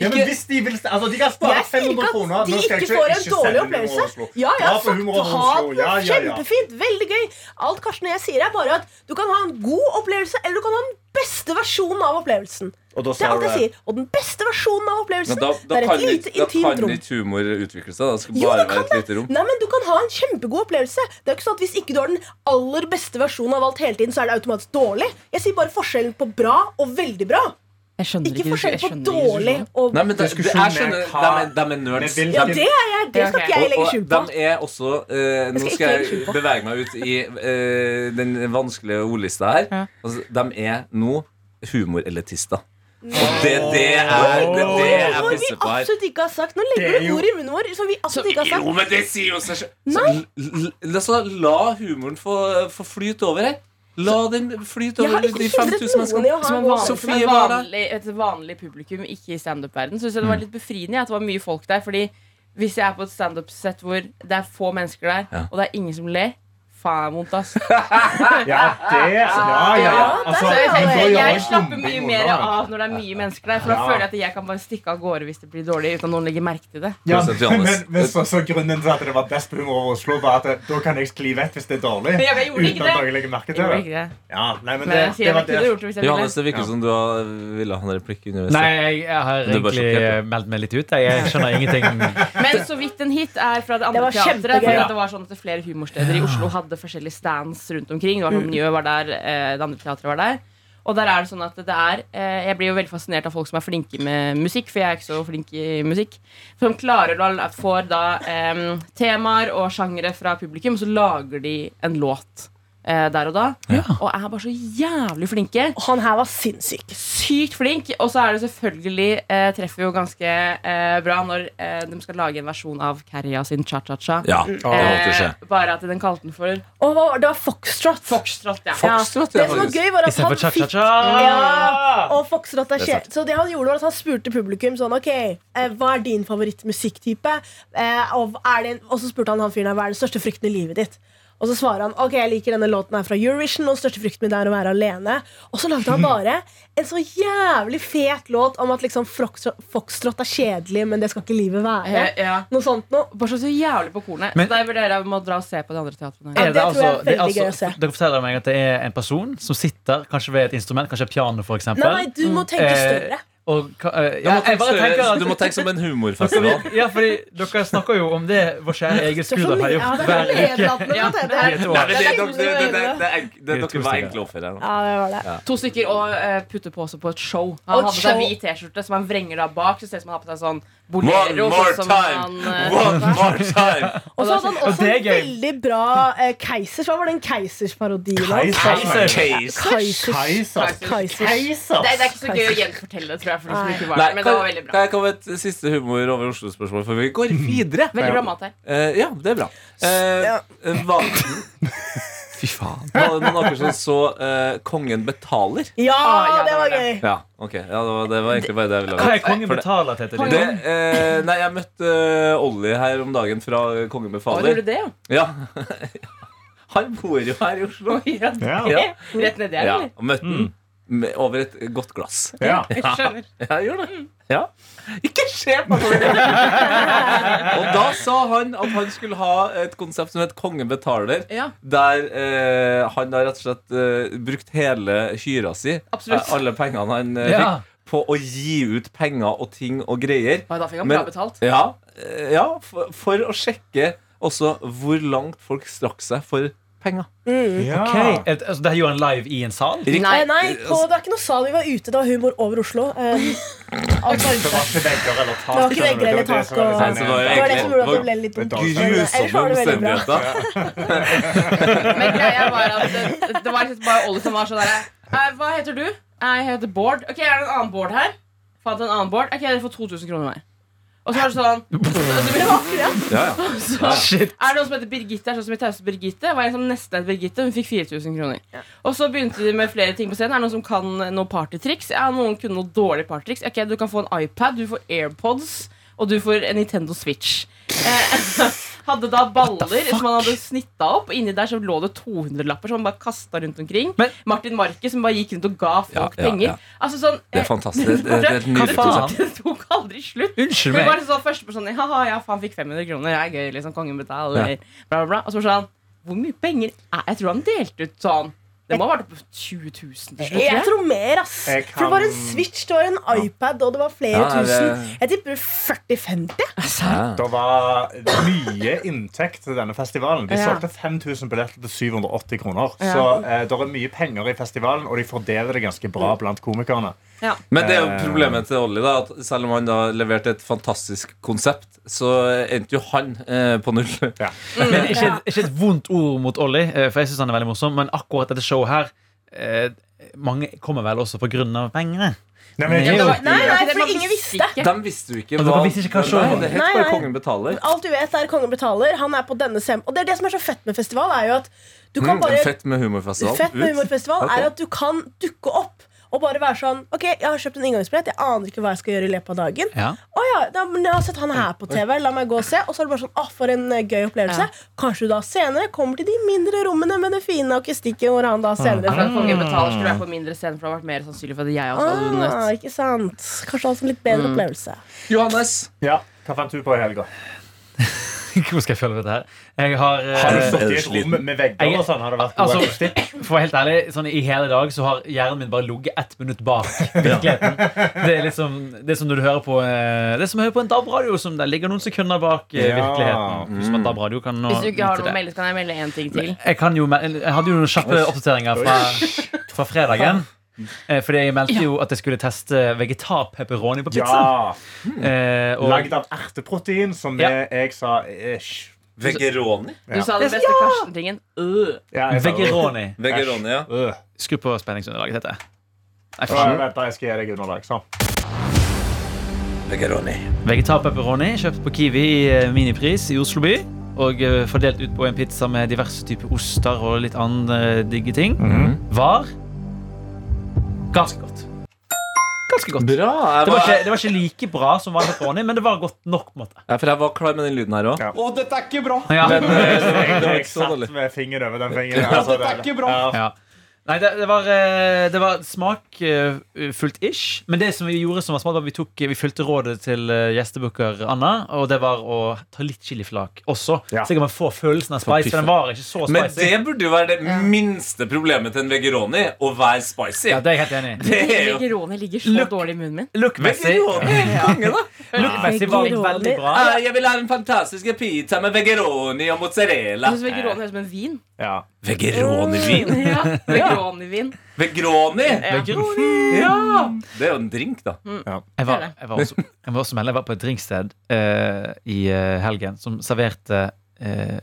[SPEAKER 2] Ja, men hvis de vil Altså, de kan spare
[SPEAKER 7] Jeg sier
[SPEAKER 2] 500
[SPEAKER 7] ikke at
[SPEAKER 2] kroner.
[SPEAKER 7] de
[SPEAKER 2] Nå skal jeg
[SPEAKER 7] ikke får en
[SPEAKER 2] ikke
[SPEAKER 7] dårlig
[SPEAKER 2] selge Humor over
[SPEAKER 7] opplevelse.
[SPEAKER 2] Oslo.
[SPEAKER 7] Ja, jeg
[SPEAKER 2] Dra
[SPEAKER 7] har
[SPEAKER 2] på
[SPEAKER 7] sagt
[SPEAKER 2] Humor over
[SPEAKER 7] ha
[SPEAKER 2] Oslo.
[SPEAKER 7] det
[SPEAKER 2] Ja, ja, ja.
[SPEAKER 7] kjempefint, veldig gøy. Alt Karsten og jeg sier, er bare at du kan ha en god opplevelse, eller du kan ha den beste versjonen av opplevelsen.
[SPEAKER 2] Og da
[SPEAKER 7] Det er
[SPEAKER 2] sa
[SPEAKER 7] alt
[SPEAKER 2] du
[SPEAKER 7] jeg sier. Og den beste versjonen av opplevelsen, det er et lite intimt rom.
[SPEAKER 5] ikke humor utvikle seg. Det skal
[SPEAKER 7] Jo, det kan det. Nei, men Du kan ha en kjempegod opplevelse. Det er jo ikke sånn at Hvis ikke du har den aller beste versjonen av alt hele tiden, så er det automatisk dårlig. Jeg sier bare forskjellen på bra og veldig bra.
[SPEAKER 3] Jeg skjønner
[SPEAKER 7] Ikke
[SPEAKER 3] ikke, jeg
[SPEAKER 7] forskjellen på
[SPEAKER 3] skjønner ikke
[SPEAKER 7] dårlig
[SPEAKER 3] diskusjonen.
[SPEAKER 7] og
[SPEAKER 5] Nei, men det, det, jeg
[SPEAKER 2] Diskusjonen er
[SPEAKER 5] skjønner, de
[SPEAKER 2] hva-
[SPEAKER 5] er, de er nerds.
[SPEAKER 2] Men vil-
[SPEAKER 7] Ja,
[SPEAKER 5] De-
[SPEAKER 7] det er jeg. Det
[SPEAKER 3] Ja, ok.
[SPEAKER 7] skal ikke jeg legge skjul på.
[SPEAKER 5] de er også eh, Nå
[SPEAKER 7] ikke
[SPEAKER 5] skal
[SPEAKER 7] legge skjul
[SPEAKER 5] jeg
[SPEAKER 7] på.
[SPEAKER 5] bevege meg ut i eh, den vanskelige ordlista her.
[SPEAKER 3] Ja.
[SPEAKER 5] Altså, de er nå humorelitister. Og det, det er det, det jeg
[SPEAKER 7] Noe vi
[SPEAKER 5] pisser på her.
[SPEAKER 7] absolutt ikke har sagt. Nå
[SPEAKER 2] Det
[SPEAKER 7] legger
[SPEAKER 2] er
[SPEAKER 7] du
[SPEAKER 2] jo-
[SPEAKER 7] ord i munnen vår som vi absolutt ikke har
[SPEAKER 5] Jo,
[SPEAKER 7] sagt.
[SPEAKER 5] men det sier jo seg selv
[SPEAKER 7] Nei.
[SPEAKER 5] Så l- l- l- altså, La humoren få, få flyte over her. La den flyte
[SPEAKER 7] Jeg
[SPEAKER 5] over
[SPEAKER 7] har ikke
[SPEAKER 5] de
[SPEAKER 7] hindret
[SPEAKER 5] 5000
[SPEAKER 7] noen i
[SPEAKER 5] menneskene.
[SPEAKER 7] å ha
[SPEAKER 3] Som
[SPEAKER 7] en
[SPEAKER 3] en
[SPEAKER 7] god
[SPEAKER 3] vanlig,
[SPEAKER 5] Så fint.
[SPEAKER 7] opplevelse.
[SPEAKER 3] som en
[SPEAKER 5] Sofie var der.
[SPEAKER 3] vanlig, et vanlig publikum, ikke i standup-verden, syns jeg det var litt befriende ja, at det var mye folk der. Fordi hvis jeg er på et standup-sett hvor det er få mennesker der,
[SPEAKER 5] Ja.
[SPEAKER 3] og det er ingen som ler Faen vondt, ass.
[SPEAKER 2] Ja, det Ja, ja, ja.
[SPEAKER 7] Ja,
[SPEAKER 2] Altså,
[SPEAKER 3] Så jeg,
[SPEAKER 7] men
[SPEAKER 2] da
[SPEAKER 3] tenker,
[SPEAKER 2] gjør
[SPEAKER 3] jeg
[SPEAKER 2] jeg
[SPEAKER 3] slapper
[SPEAKER 2] dumme
[SPEAKER 3] mye
[SPEAKER 2] ting
[SPEAKER 3] mer
[SPEAKER 2] unna.
[SPEAKER 3] av når det er mye mennesker der. For da
[SPEAKER 2] Ja.
[SPEAKER 3] føler jeg at jeg kan bare stikke av gårde hvis det blir dårlig, uten at noen legger merke til det.
[SPEAKER 2] Ja,
[SPEAKER 5] Prosent til Johannes.
[SPEAKER 2] men, men så, så grunnen til at det var best på Humor over Oslo, var at det- da kan jeg skli vekk hvis det er dårlig.
[SPEAKER 3] Ja, men jeg gjorde ikke
[SPEAKER 2] uten at
[SPEAKER 3] det.
[SPEAKER 2] noen legger merke
[SPEAKER 3] Jeg
[SPEAKER 2] til
[SPEAKER 3] gjorde
[SPEAKER 2] det.
[SPEAKER 3] ikke det.
[SPEAKER 2] Ja, nei, men
[SPEAKER 3] Men
[SPEAKER 2] det,
[SPEAKER 3] jeg
[SPEAKER 2] det
[SPEAKER 3] sier
[SPEAKER 2] var
[SPEAKER 3] jeg kunne
[SPEAKER 2] det.
[SPEAKER 3] gjort det hvis jeg ville.
[SPEAKER 5] Johannes, det virker
[SPEAKER 2] Ja.
[SPEAKER 5] som du har- ville ha en replikk underveis.
[SPEAKER 4] Nei, jeg, jeg har
[SPEAKER 5] Du er bare
[SPEAKER 4] egentlig
[SPEAKER 5] sjokkert,
[SPEAKER 4] meldt meg litt ut. jeg. Jeg skjønner ingenting.
[SPEAKER 3] Men så vidt en hit er fra det
[SPEAKER 7] Det
[SPEAKER 3] andre
[SPEAKER 7] var
[SPEAKER 3] teatret.
[SPEAKER 7] kjempegøy.
[SPEAKER 3] For det var sånn at flere humorsteder i Oslo hadde hadde forskjellige stands rundt omkring. Det var
[SPEAKER 7] Mm.
[SPEAKER 3] sånn, Njø var der, eh, det andre teatret var der. Og der er det sånn at det er eh, Jeg blir jo veldig fascinert av folk som er flinke med musikk, for jeg er ikke så flink i musikk. Som klarer å får da eh, temaer og sjangere fra publikum, så lager de en låt eh, der og da. Og er bare så jævlig flinke
[SPEAKER 7] Han her var sinnssyk.
[SPEAKER 3] sykt flink. Og så er det selvfølgelig eh, treffer jo ganske eh, bra når eh, de skal lage en versjon av Kerja sin cha-cha-cha.
[SPEAKER 5] Ja, det var alltid skje.
[SPEAKER 3] Eh, bare at den kalte den for
[SPEAKER 7] Og hva var det? det var Foxtrot.
[SPEAKER 3] Foxtrot. Ja.
[SPEAKER 5] Foxtrot,
[SPEAKER 7] Det
[SPEAKER 5] ja,
[SPEAKER 7] som var
[SPEAKER 5] faktisk.
[SPEAKER 7] gøy, var at han
[SPEAKER 4] Istedenfor
[SPEAKER 7] fikk
[SPEAKER 4] cha-cha-cha.
[SPEAKER 7] ja, Og Foxtrot
[SPEAKER 5] Det
[SPEAKER 7] er
[SPEAKER 5] er
[SPEAKER 7] sjef. Så det han gjorde, var at han spurte publikum sånn OK, eh, hva er din favorittmusikktype? Eh, og, er det en, og så spurte han han fyren her hva er den største frykten i livet ditt? Og så svarer han ok, jeg liker denne låten her fra Eurovision. Og den største frykten min er å være alene Og så lagde han bare en så jævlig fet låt om at liksom Foxtrot Foxtrot er kjedelig, men det skal ikke livet være.
[SPEAKER 3] Eh, ja.
[SPEAKER 7] Noe sånt noe.
[SPEAKER 3] Bare så jævlig på kornet.
[SPEAKER 4] Men-
[SPEAKER 3] så der vurderer jeg om å dra og se på de andre teatrene.
[SPEAKER 7] Ja,
[SPEAKER 4] Er
[SPEAKER 7] det tror jeg er
[SPEAKER 4] det er altså-
[SPEAKER 7] veldig gøy å se.
[SPEAKER 4] Dere forteller meg at det er en person som sitter kanskje ved et instrument, kanskje piano for eksempel
[SPEAKER 7] Nei, du må tenke større.
[SPEAKER 4] Eh, og, ka- eh,
[SPEAKER 5] Du
[SPEAKER 4] ja,
[SPEAKER 5] må
[SPEAKER 4] jeg
[SPEAKER 5] tenke
[SPEAKER 4] bare tenker
[SPEAKER 5] større-
[SPEAKER 4] at
[SPEAKER 5] Du må tenke som en humorfestival.
[SPEAKER 4] Ja, fordi dere snakker jo om det vår kjære Egil
[SPEAKER 7] Det er så
[SPEAKER 4] Skurdal har
[SPEAKER 7] mye- ja,
[SPEAKER 4] gjort
[SPEAKER 7] det er
[SPEAKER 4] hver uke.
[SPEAKER 7] nedlatende,
[SPEAKER 3] Ja,
[SPEAKER 7] det er det.
[SPEAKER 4] i et år.
[SPEAKER 5] Nei, men det, det, det, det, det, det, er- det,
[SPEAKER 4] Det er
[SPEAKER 5] dere
[SPEAKER 4] to
[SPEAKER 5] var
[SPEAKER 4] stykker.
[SPEAKER 5] enkle offer her. nå.
[SPEAKER 7] Ja, det var det.
[SPEAKER 3] To stykker og eh, putte på seg på et show.
[SPEAKER 7] Og
[SPEAKER 3] Han
[SPEAKER 7] et
[SPEAKER 3] hadde på seg
[SPEAKER 7] show.
[SPEAKER 3] hvit T-skjorte som han vrenger da bak. Så ser det ut som han har på seg sånn
[SPEAKER 5] One
[SPEAKER 3] bolero.
[SPEAKER 5] more
[SPEAKER 3] sånn som
[SPEAKER 5] time!
[SPEAKER 3] han, eh,
[SPEAKER 5] One more time!
[SPEAKER 7] Og så hadde han også
[SPEAKER 4] det er
[SPEAKER 7] en
[SPEAKER 4] gøy.
[SPEAKER 7] veldig bra eh, Keisers. Hva var den Keisers-parodien? hans?
[SPEAKER 2] Keiser.
[SPEAKER 5] Case.
[SPEAKER 7] Keisers.
[SPEAKER 2] Keiser.
[SPEAKER 7] Keisers.
[SPEAKER 2] Keiser.
[SPEAKER 3] Nei, det er ikke så gøy å gjenfortelle det, tror jeg. For de som ikke var
[SPEAKER 5] Nei,
[SPEAKER 3] der, men det
[SPEAKER 5] kan,
[SPEAKER 3] var veldig
[SPEAKER 5] kan
[SPEAKER 3] bra.
[SPEAKER 5] jeg komme med et siste humor over Oslo-spørsmål før vi går videre?
[SPEAKER 3] Veldig bra mat her.
[SPEAKER 5] Eh, ja, det er bra. Eh, eh, hva, Fy faen. Var det noen av dere som så eh, Kongen betaler?
[SPEAKER 7] Ja,
[SPEAKER 3] Ah, ja,
[SPEAKER 7] det
[SPEAKER 3] det var
[SPEAKER 7] var
[SPEAKER 3] det.
[SPEAKER 7] gøy!
[SPEAKER 5] Ja, ok. Ja, det, var, det var egentlig bare det jeg ville
[SPEAKER 4] Hva
[SPEAKER 5] ha
[SPEAKER 4] er kongen betaler til etter
[SPEAKER 5] det, eh, nei, jeg møtte eh, Olli her om dagen fra eh, Kongen
[SPEAKER 3] Hva gjorde
[SPEAKER 5] befaler.
[SPEAKER 3] du det, ja?
[SPEAKER 5] Ja. Han bor jo her i Oslo.
[SPEAKER 2] Ja.
[SPEAKER 5] Ja.
[SPEAKER 3] Rett nedi her,
[SPEAKER 5] Ja,
[SPEAKER 3] eller?
[SPEAKER 5] og møtte han med- over et godt glass.
[SPEAKER 2] Ja.
[SPEAKER 3] Jeg skjønner.
[SPEAKER 5] Ja, jeg gjør det. Ja. Ikke se på meg! og da sa han at han skulle ha et konsept som het Kongen betaler.
[SPEAKER 3] Ja.
[SPEAKER 5] Der eh, han har rett og slett eh, brukt hele hyra si,
[SPEAKER 3] Absolutt.
[SPEAKER 5] eh, alle pengene han eh,
[SPEAKER 4] Ja.
[SPEAKER 5] fikk, på å gi ut penger og ting og greier.
[SPEAKER 3] Oi, Da fikk han
[SPEAKER 5] Men-
[SPEAKER 3] bra betalt.
[SPEAKER 5] Ja, eh, ja for, for å sjekke også hvor langt folk strakk seg for penger.
[SPEAKER 2] Ja.
[SPEAKER 4] Ok, et, altså, Det her gjorde han live i en sal?
[SPEAKER 5] Riktig.
[SPEAKER 7] Nei, Eh, nei på, det er ikke noe sal. Vi var ute. Det var humor over Oslo. Eh, altså,
[SPEAKER 2] Det var ikke vegger eller tak.
[SPEAKER 7] Det var ikke vegger eller
[SPEAKER 2] Det var det
[SPEAKER 7] tak,
[SPEAKER 2] som var litt
[SPEAKER 7] og-
[SPEAKER 2] sånn-
[SPEAKER 5] Så det var jo
[SPEAKER 7] det var det som gjorde at det
[SPEAKER 5] egentlig
[SPEAKER 7] ble litt dumt.
[SPEAKER 2] Det var
[SPEAKER 7] Ellers
[SPEAKER 5] grusomme
[SPEAKER 7] var det veldig bra.
[SPEAKER 5] omstendigheter.
[SPEAKER 3] Men greia var at det, det var liksom bare Olli som var sånn derre «Eh, Hva heter du? Jeg heter Bård. Ok, er det en annen Bård her? Fant en annen Bård. Ok, dere får 2000 kroner hver. Og så er det sånn
[SPEAKER 5] Ja, ja.
[SPEAKER 4] Shit.
[SPEAKER 3] Er det noen som heter Birgitte? Er det sånn som i Tause Birgitte? Var en som nesten het Birgitte, hun fikk 4000 kroner. Og så begynte de med flere ting på scenen. Er det noen som kan noen partytriks? Ja, noen kunne noen dårlige partytriks. Ok, du kan få en iPad, du får AirPods, og du får en Nintendo Switch. Eh, hadde da baller som han hadde snitta opp. og Inni der så lå det 200-lapper som han bare kasta rundt omkring.
[SPEAKER 4] Men-
[SPEAKER 3] Martin Marke som bare gikk rundt og ga folk
[SPEAKER 5] Ja, ja,
[SPEAKER 3] penger.
[SPEAKER 5] ja.
[SPEAKER 3] Altså sånn
[SPEAKER 5] Det
[SPEAKER 3] eh,
[SPEAKER 5] er fantastisk. Det, det, det er et nydelig
[SPEAKER 4] faen?
[SPEAKER 5] konsept.
[SPEAKER 3] det tok aldri slutt.
[SPEAKER 4] Unnskyld
[SPEAKER 3] Det
[SPEAKER 4] meg.
[SPEAKER 3] var liksom sånn første person Haha, ja, faen, fikk 500 kroner. Det er gøy, liksom. Kongen betaler. Bla, bla, bla. Og så var det sånn Hvor mye penger er Jeg tror han delte ut sånn Det må ha vært på 20 000 til slutt. tror
[SPEAKER 7] Jeg
[SPEAKER 3] jeg.
[SPEAKER 7] tror mer, ass.
[SPEAKER 2] Jeg
[SPEAKER 7] For det var en
[SPEAKER 2] kan-
[SPEAKER 7] Switch, det var en iPad, og det var flere
[SPEAKER 5] Ja, det-
[SPEAKER 7] tusen. Jeg tipper 40-50.
[SPEAKER 2] Det var mye inntekt til denne festivalen. De
[SPEAKER 3] Ja.
[SPEAKER 2] solgte 5000 billetter til 780 kroner.
[SPEAKER 3] Ja.
[SPEAKER 2] Så eh, det er mye penger i festivalen, og de fordeler det ganske bra blant komikerne.
[SPEAKER 5] Men det er jo problemet til Olli, da. At selv om han da leverte et fantastisk konsept, så endte jo han eh, på null.
[SPEAKER 2] Ja.
[SPEAKER 4] Men ikke, et- ikke et vondt ord mot Olli, eh, for jeg syns han er veldig morsom. Men akkurat dette showet her eh, Mange kommer vel også på grunn av pengene.
[SPEAKER 2] Nei, men,
[SPEAKER 4] Ja,
[SPEAKER 2] jeg,
[SPEAKER 4] det
[SPEAKER 2] tror-
[SPEAKER 4] var-
[SPEAKER 7] Nei, nei,
[SPEAKER 3] Det er
[SPEAKER 7] fordi
[SPEAKER 3] mange
[SPEAKER 7] ingen visste.
[SPEAKER 3] ikke.
[SPEAKER 5] De visste jo ikke
[SPEAKER 4] Og dere Altså, visste ikke hva showet
[SPEAKER 5] Nei,
[SPEAKER 4] var.
[SPEAKER 5] Det het
[SPEAKER 7] Nei,
[SPEAKER 5] bare
[SPEAKER 7] nei.
[SPEAKER 5] Kongen betaler.
[SPEAKER 7] Alt du vet, er Kongen betaler. Han er på denne sem... Og det er det som er så fett med festival, er jo at du kan
[SPEAKER 5] Mm,
[SPEAKER 7] bare
[SPEAKER 5] Fett med humorfestival.
[SPEAKER 7] Fett med
[SPEAKER 5] Ut.
[SPEAKER 7] humorfestival
[SPEAKER 5] Ok.
[SPEAKER 7] er at du kan dukke opp og bare være sånn Ok, jeg har kjøpt en inngangsbillett, jeg aner ikke hva jeg skal gjøre i løpet av dagen.
[SPEAKER 4] Ja.
[SPEAKER 7] Å ja, da, men jeg har sett han her på TV, la meg gå og se. Og så er det bare sånn, ah, for en eh, gøy opplevelse.
[SPEAKER 3] Ja.
[SPEAKER 7] Kanskje du da senere kommer til de mindre rommene med det fine akustikken hvor han da senere
[SPEAKER 3] For at kongen betaler skulle være på mindre scene, for det har vært mer sannsynlig for at jeg også hadde vunnet.
[SPEAKER 7] Ah, ikke sant.
[SPEAKER 5] Mm.
[SPEAKER 7] Kanskje han har en litt bedre opplevelse.
[SPEAKER 5] Johannes,
[SPEAKER 2] ja, hva fant du på i helga?
[SPEAKER 4] Hvordan skal jeg følge dette her? Jeg har, eh,
[SPEAKER 2] Har du
[SPEAKER 5] Er
[SPEAKER 2] stått
[SPEAKER 5] du
[SPEAKER 2] i et rom
[SPEAKER 5] sliten?
[SPEAKER 2] med vegger og sånn? Har det vært god
[SPEAKER 4] Altså-
[SPEAKER 2] akustikk?
[SPEAKER 4] For å være helt ærlig, sånn I hele dag så har hjernen min bare ligget ett minutt bak virkeligheten. Det er liksom, det er som når du hører på eh, Det er som å høre på en DAB-radio som der ligger noen sekunder bak eh,
[SPEAKER 2] Ja. Mm.
[SPEAKER 4] virkeligheten. Som at DAB-radio kan nå
[SPEAKER 3] Hvis du ikke har
[SPEAKER 4] nytte
[SPEAKER 3] noe å
[SPEAKER 4] det.
[SPEAKER 3] melde, så kan jeg melde én ting til.
[SPEAKER 4] jeg, kan jo, mel- jeg hadde jo noen kjappe oppdateringer fra, fra fredagen. Eh, Fordi jeg meldte jo at jeg skulle teste vegetarpepperoni på pizza.
[SPEAKER 2] Ja!
[SPEAKER 4] Eh, og-
[SPEAKER 2] Lagd av erteprotein, som
[SPEAKER 4] Ja.
[SPEAKER 2] jeg, jeg sa ish.
[SPEAKER 5] Vegeroni?
[SPEAKER 3] Du sa den beste Karsten-tingen. Øh.
[SPEAKER 2] Ja, jeg sa-
[SPEAKER 4] Vegeroni.
[SPEAKER 5] Vegeroni, ja.
[SPEAKER 2] Øh.
[SPEAKER 4] Skru på spenningsunderlaget, heter det. Nei,
[SPEAKER 2] Ja,
[SPEAKER 4] faen.
[SPEAKER 2] Vent, da, jeg skal gi deg underlag. Sånn.
[SPEAKER 5] Vegeroni.
[SPEAKER 4] Vegetarpepperoni kjøpt på Kiwi i eh, minipris i Oslo by. Og eh, fordelt ut på en pizza med diverse typer oster og litt andre digge ting. Var ganske godt. Ganske godt.
[SPEAKER 5] Bra. Jeg
[SPEAKER 4] Det var,
[SPEAKER 5] var,
[SPEAKER 4] ikke, det var ikke like bra som vanlig pepperoni, men det var godt nok. på en måte.
[SPEAKER 5] ja, for jeg var klar med den lyden her òg.
[SPEAKER 2] Ja.
[SPEAKER 4] Ja.
[SPEAKER 5] det var
[SPEAKER 2] Jeg
[SPEAKER 5] ikke så
[SPEAKER 2] satt
[SPEAKER 5] dårlig.
[SPEAKER 2] med fingeren over den fingeren. Altså, det er ikke bra.
[SPEAKER 4] Ja. Nei, det, det, var, eh, det var smak eh, fullt ish. Men det som vi gjorde som var smart, var at vi, tok, eh, vi fulgte rådet til eh, gjestebooker Anna. Og det var å ta litt chiliflak også.
[SPEAKER 2] Ja.
[SPEAKER 4] Så kan man få følelsen av spice.
[SPEAKER 5] piffe.
[SPEAKER 4] For den var ikke så spicy.
[SPEAKER 5] Men det burde jo være det minste problemet til en vegeroni å være spicy.
[SPEAKER 4] Ja, det er jeg helt enig i.
[SPEAKER 5] Det er jo
[SPEAKER 3] Vegeroni ligger så
[SPEAKER 4] Look.
[SPEAKER 3] dårlig i munnen min.
[SPEAKER 4] Look-messig
[SPEAKER 5] Vegeroni er konge, da.
[SPEAKER 4] look-messig var den veldig bra.
[SPEAKER 5] Ah, jeg vil ha en fantastisk pizza med vegeroni og mozzarella. Eh.
[SPEAKER 3] Jeg syns vegeroni høres ut som en vin.
[SPEAKER 2] Ja.
[SPEAKER 7] Mm.
[SPEAKER 5] Vegeronivin?
[SPEAKER 3] Ja, Vegeronivin.
[SPEAKER 5] Vegroni?
[SPEAKER 4] Eh. Vegeroni.
[SPEAKER 5] Ja! Det er jo en drink, da.
[SPEAKER 4] Jeg var, jeg var også, jeg må også melde, jeg var på et drinksted eh, i eh, helgen som serverte uh,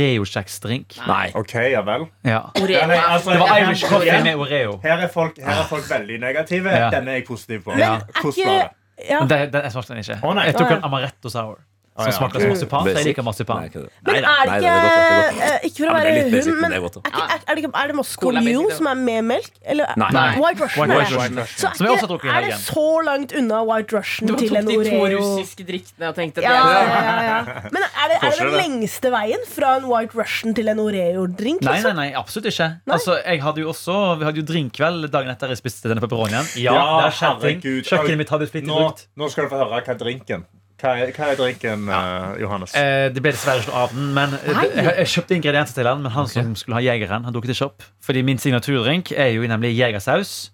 [SPEAKER 4] Oreo-kjeksdrink.
[SPEAKER 5] Nei.
[SPEAKER 2] OK, ja vel.
[SPEAKER 4] Ja.
[SPEAKER 2] Ja, nei,
[SPEAKER 3] Oreo.
[SPEAKER 2] altså,
[SPEAKER 4] Det var
[SPEAKER 2] her-
[SPEAKER 4] Irish coffee med Oreo.
[SPEAKER 2] Her er folk, her
[SPEAKER 5] Ah.
[SPEAKER 2] er folk veldig negative.
[SPEAKER 4] Ja.
[SPEAKER 2] Denne er jeg positiv på.
[SPEAKER 4] Ja.
[SPEAKER 2] Hvordan var det?
[SPEAKER 7] Ja.
[SPEAKER 4] Men det, det, jeg smakte den ikke.
[SPEAKER 2] Å, nei.
[SPEAKER 4] jeg tok
[SPEAKER 7] Å, ja.
[SPEAKER 4] en amaretto sour.
[SPEAKER 2] Å,
[SPEAKER 4] Som
[SPEAKER 2] ja.
[SPEAKER 4] smaker som marsipan. Så jeg
[SPEAKER 5] Basic.
[SPEAKER 4] liker marsipan.
[SPEAKER 5] ikke det.
[SPEAKER 7] Men
[SPEAKER 5] Neida.
[SPEAKER 7] er det
[SPEAKER 5] Nei,
[SPEAKER 7] ikke
[SPEAKER 5] er godt, det er godt.
[SPEAKER 7] eh, Ikke for å
[SPEAKER 5] Ja, men det
[SPEAKER 7] være
[SPEAKER 5] er litt basic, men
[SPEAKER 7] hum, men
[SPEAKER 5] det er
[SPEAKER 7] er,
[SPEAKER 5] godt, da.
[SPEAKER 7] ikke, er, er det, ikke- er det
[SPEAKER 3] Cola er basic,
[SPEAKER 7] Moscow
[SPEAKER 3] det.
[SPEAKER 7] som er med melk? Eller,
[SPEAKER 5] Nei.
[SPEAKER 4] Nei.
[SPEAKER 7] White Russian.
[SPEAKER 4] White
[SPEAKER 7] er-
[SPEAKER 4] Russian.
[SPEAKER 7] Så
[SPEAKER 4] Som jeg
[SPEAKER 7] er,
[SPEAKER 4] også tok i
[SPEAKER 7] ikke, er det
[SPEAKER 4] helgen.
[SPEAKER 7] så langt unna White
[SPEAKER 3] Du
[SPEAKER 7] Russian
[SPEAKER 3] tok
[SPEAKER 7] til en
[SPEAKER 3] de to
[SPEAKER 7] Oreo?
[SPEAKER 3] russiske drikkene og tenkte
[SPEAKER 7] Ja,
[SPEAKER 3] det.
[SPEAKER 7] ja, ja, ja. Men er det, er det
[SPEAKER 2] Forskjell,
[SPEAKER 7] den
[SPEAKER 2] det.
[SPEAKER 7] lengste veien fra en White Russian til en Oreo-drink?
[SPEAKER 4] Nei, nei,
[SPEAKER 7] Liksom?
[SPEAKER 4] nei, absolutt ikke. Altså, jeg hadde jo også, Vi hadde jo drinkkveld dagen etter jeg spiste denne pepperonien. Ja,
[SPEAKER 2] Ja,
[SPEAKER 4] det har skjedd ting.
[SPEAKER 2] herregud.
[SPEAKER 4] Kjøkkenet mitt har blitt flittig
[SPEAKER 2] Nå,
[SPEAKER 4] brukt.
[SPEAKER 2] nå skal du få høre hva er drinken Hva er, hva er drinken, eh, Johannes?
[SPEAKER 4] Eh, det ble dessverre ikke noe av den. Men eh,
[SPEAKER 3] Nei.
[SPEAKER 4] jeg, jeg kjøpte ingredienser til den, men han som skulle ha jegeren, han dukket ikke opp. Fordi min signaturdrink er jo nemlig jegersaus,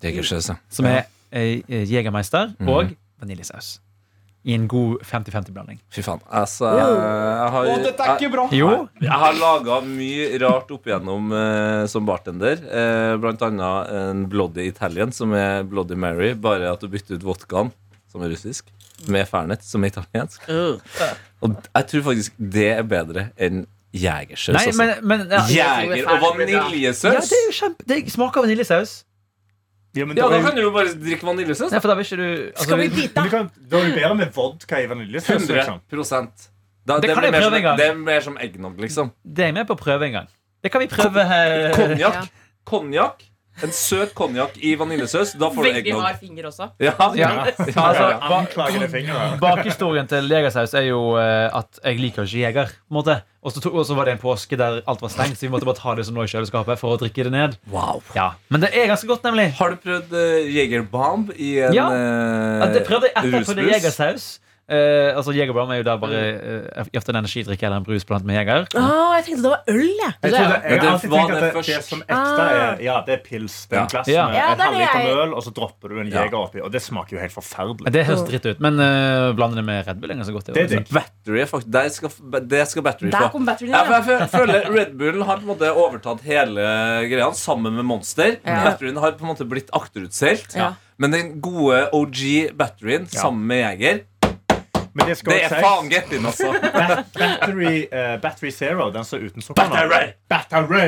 [SPEAKER 5] Det er ikke sjøs, ja.
[SPEAKER 4] som er eh, eh, jegermeister,
[SPEAKER 2] Mhm.
[SPEAKER 4] og vaniljesaus. I en god 50-50-blanding.
[SPEAKER 5] Fy faen. Altså, jeg, jeg har jeg,
[SPEAKER 4] Jo,
[SPEAKER 5] jeg har laga mye rart opp igjennom eh, som bartender. Eh, blant annet en Bloody Italian, som er Bloody Mary, bare at du bytter ut vodkaen, som er russisk, med Fernet, som er italiensk. Og jeg tror faktisk det er bedre enn jegersaus.
[SPEAKER 4] Nei,
[SPEAKER 5] altså.
[SPEAKER 4] men, men ja,
[SPEAKER 5] Jeger
[SPEAKER 4] ja,
[SPEAKER 5] og vaniljesaus?
[SPEAKER 4] det er jo kjempe Det smaker av vaniljesaus.
[SPEAKER 2] Ja, men
[SPEAKER 5] Ja,
[SPEAKER 2] da
[SPEAKER 5] da
[SPEAKER 2] er jo-
[SPEAKER 5] kan du jo bare drikke vaniljesaus.
[SPEAKER 4] Nei, for da vil ikke du altså,
[SPEAKER 7] Skal vi
[SPEAKER 4] vi-
[SPEAKER 2] men
[SPEAKER 7] dit, da?
[SPEAKER 2] du kan- da er det bedre med vodka i vaniljesaus. Liksom.
[SPEAKER 5] 100 da,
[SPEAKER 4] Det kan
[SPEAKER 5] blir
[SPEAKER 4] jeg
[SPEAKER 5] mer
[SPEAKER 4] prøve
[SPEAKER 5] som-
[SPEAKER 4] en gang.
[SPEAKER 5] Det er mer som eggnog, liksom.
[SPEAKER 4] Det er jeg med på å prøve en gang. Det kan vi prøve her.
[SPEAKER 3] Ja.
[SPEAKER 5] Konjakk. Konjakk. En søt konjakk i vaniljesaus. Da får du
[SPEAKER 3] Veldig
[SPEAKER 5] eggnog.
[SPEAKER 3] hard finger også.
[SPEAKER 5] Ja,
[SPEAKER 4] Ja.
[SPEAKER 5] ja.
[SPEAKER 4] Altså,
[SPEAKER 5] ja.
[SPEAKER 4] ba-
[SPEAKER 2] Anklagende fingre.
[SPEAKER 4] Bakhistorien til Jegersaus er jo eh, at jeg liker ikke jeger. på en måte Og så to- og så var det en påske der alt var stengt, så vi måtte bare ta det som lå i kjøleskapet for å drikke det ned.
[SPEAKER 5] Wow.
[SPEAKER 4] Ja, Men det er ganske godt, nemlig.
[SPEAKER 5] Har du prøvd uh, Jegerbomb i en
[SPEAKER 4] Ja.
[SPEAKER 5] eh,
[SPEAKER 4] At det prøvde jeg etterpå det er
[SPEAKER 5] rusbrus?
[SPEAKER 4] Jegersaus. Eh, altså Jegerbrom er jo der bare uh, ofte en energidrikk eller en brus blant med jeger.
[SPEAKER 7] Ah, jeg tenkte det var øl, jeg.
[SPEAKER 2] Jeg,
[SPEAKER 3] Det er-
[SPEAKER 2] trodde, jeg
[SPEAKER 5] Men det
[SPEAKER 2] har alltid
[SPEAKER 5] var
[SPEAKER 2] tenkt
[SPEAKER 5] det
[SPEAKER 2] at det, det
[SPEAKER 5] først.
[SPEAKER 2] som ekte er Ja, det er pils. Det er
[SPEAKER 5] Ja.
[SPEAKER 2] en glass
[SPEAKER 4] Ja.
[SPEAKER 2] med
[SPEAKER 7] Ah. Ja,
[SPEAKER 2] en
[SPEAKER 7] det er det
[SPEAKER 2] halvliter
[SPEAKER 7] jeg-
[SPEAKER 2] med øl, og så dropper du en
[SPEAKER 5] Ja.
[SPEAKER 2] jeger oppi. Og det smaker jo helt forferdelig.
[SPEAKER 4] Det høres dritt ut, men uh, blander det med Red Bull er ganske godt.
[SPEAKER 2] Det er digg.
[SPEAKER 5] Battery er faktisk Der skal, det skal battery
[SPEAKER 3] Der
[SPEAKER 5] fra.
[SPEAKER 3] kom batterien
[SPEAKER 5] Ja, for
[SPEAKER 3] inn.
[SPEAKER 5] jeg fø- føler Red Bullen har på en måte overtatt hele greia sammen med Monster.
[SPEAKER 3] Ja.
[SPEAKER 5] Batterien har på en måte blitt akterutseilt.
[SPEAKER 3] Ja.
[SPEAKER 5] Men den gode OG-batterien sammen med Jeger,
[SPEAKER 2] Men det skal
[SPEAKER 5] det
[SPEAKER 2] jeg
[SPEAKER 5] er
[SPEAKER 2] si.
[SPEAKER 5] faen gettin, altså.
[SPEAKER 2] Bat- Battery, eh, battery Zero, den som er uten sukker nå.
[SPEAKER 5] Battery!
[SPEAKER 2] Battery!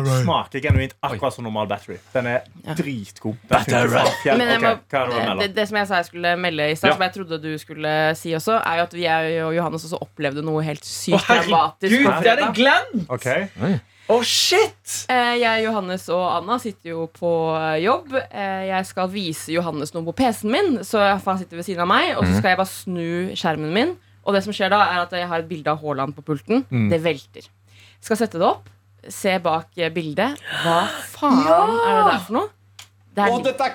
[SPEAKER 2] Den smaker genuint akkurat som normal battery. Den er dritgod. Den
[SPEAKER 5] Battery.
[SPEAKER 2] funker som fjell.
[SPEAKER 3] Men jeg
[SPEAKER 2] Ok,
[SPEAKER 3] må-
[SPEAKER 2] hva er det du
[SPEAKER 3] det,
[SPEAKER 2] melder?
[SPEAKER 3] det som jeg sa jeg skulle melde i stad,
[SPEAKER 2] Ja.
[SPEAKER 3] som jeg trodde du skulle si også, er jo at jeg og Johannes også opplevde noe
[SPEAKER 4] Å,
[SPEAKER 3] helt sykt dramatisk.
[SPEAKER 4] herregud,
[SPEAKER 3] på
[SPEAKER 4] det er det
[SPEAKER 3] fredag.
[SPEAKER 4] glemt!
[SPEAKER 2] Ok.
[SPEAKER 4] Å, shit!
[SPEAKER 3] Eh, Jeg, Johannes og Anna sitter jo på eh, jobb. Eh, Jeg skal vise Johannes noe på PC-en min, så han sitter ved siden av meg. Og så skal jeg bare snu skjermen min. Og det som skjer da, er at jeg har et bilde av Haaland på pulten. Det velter. Skal sette det opp. Se bak eh, bildet. Hva faen er det der for noe? Der,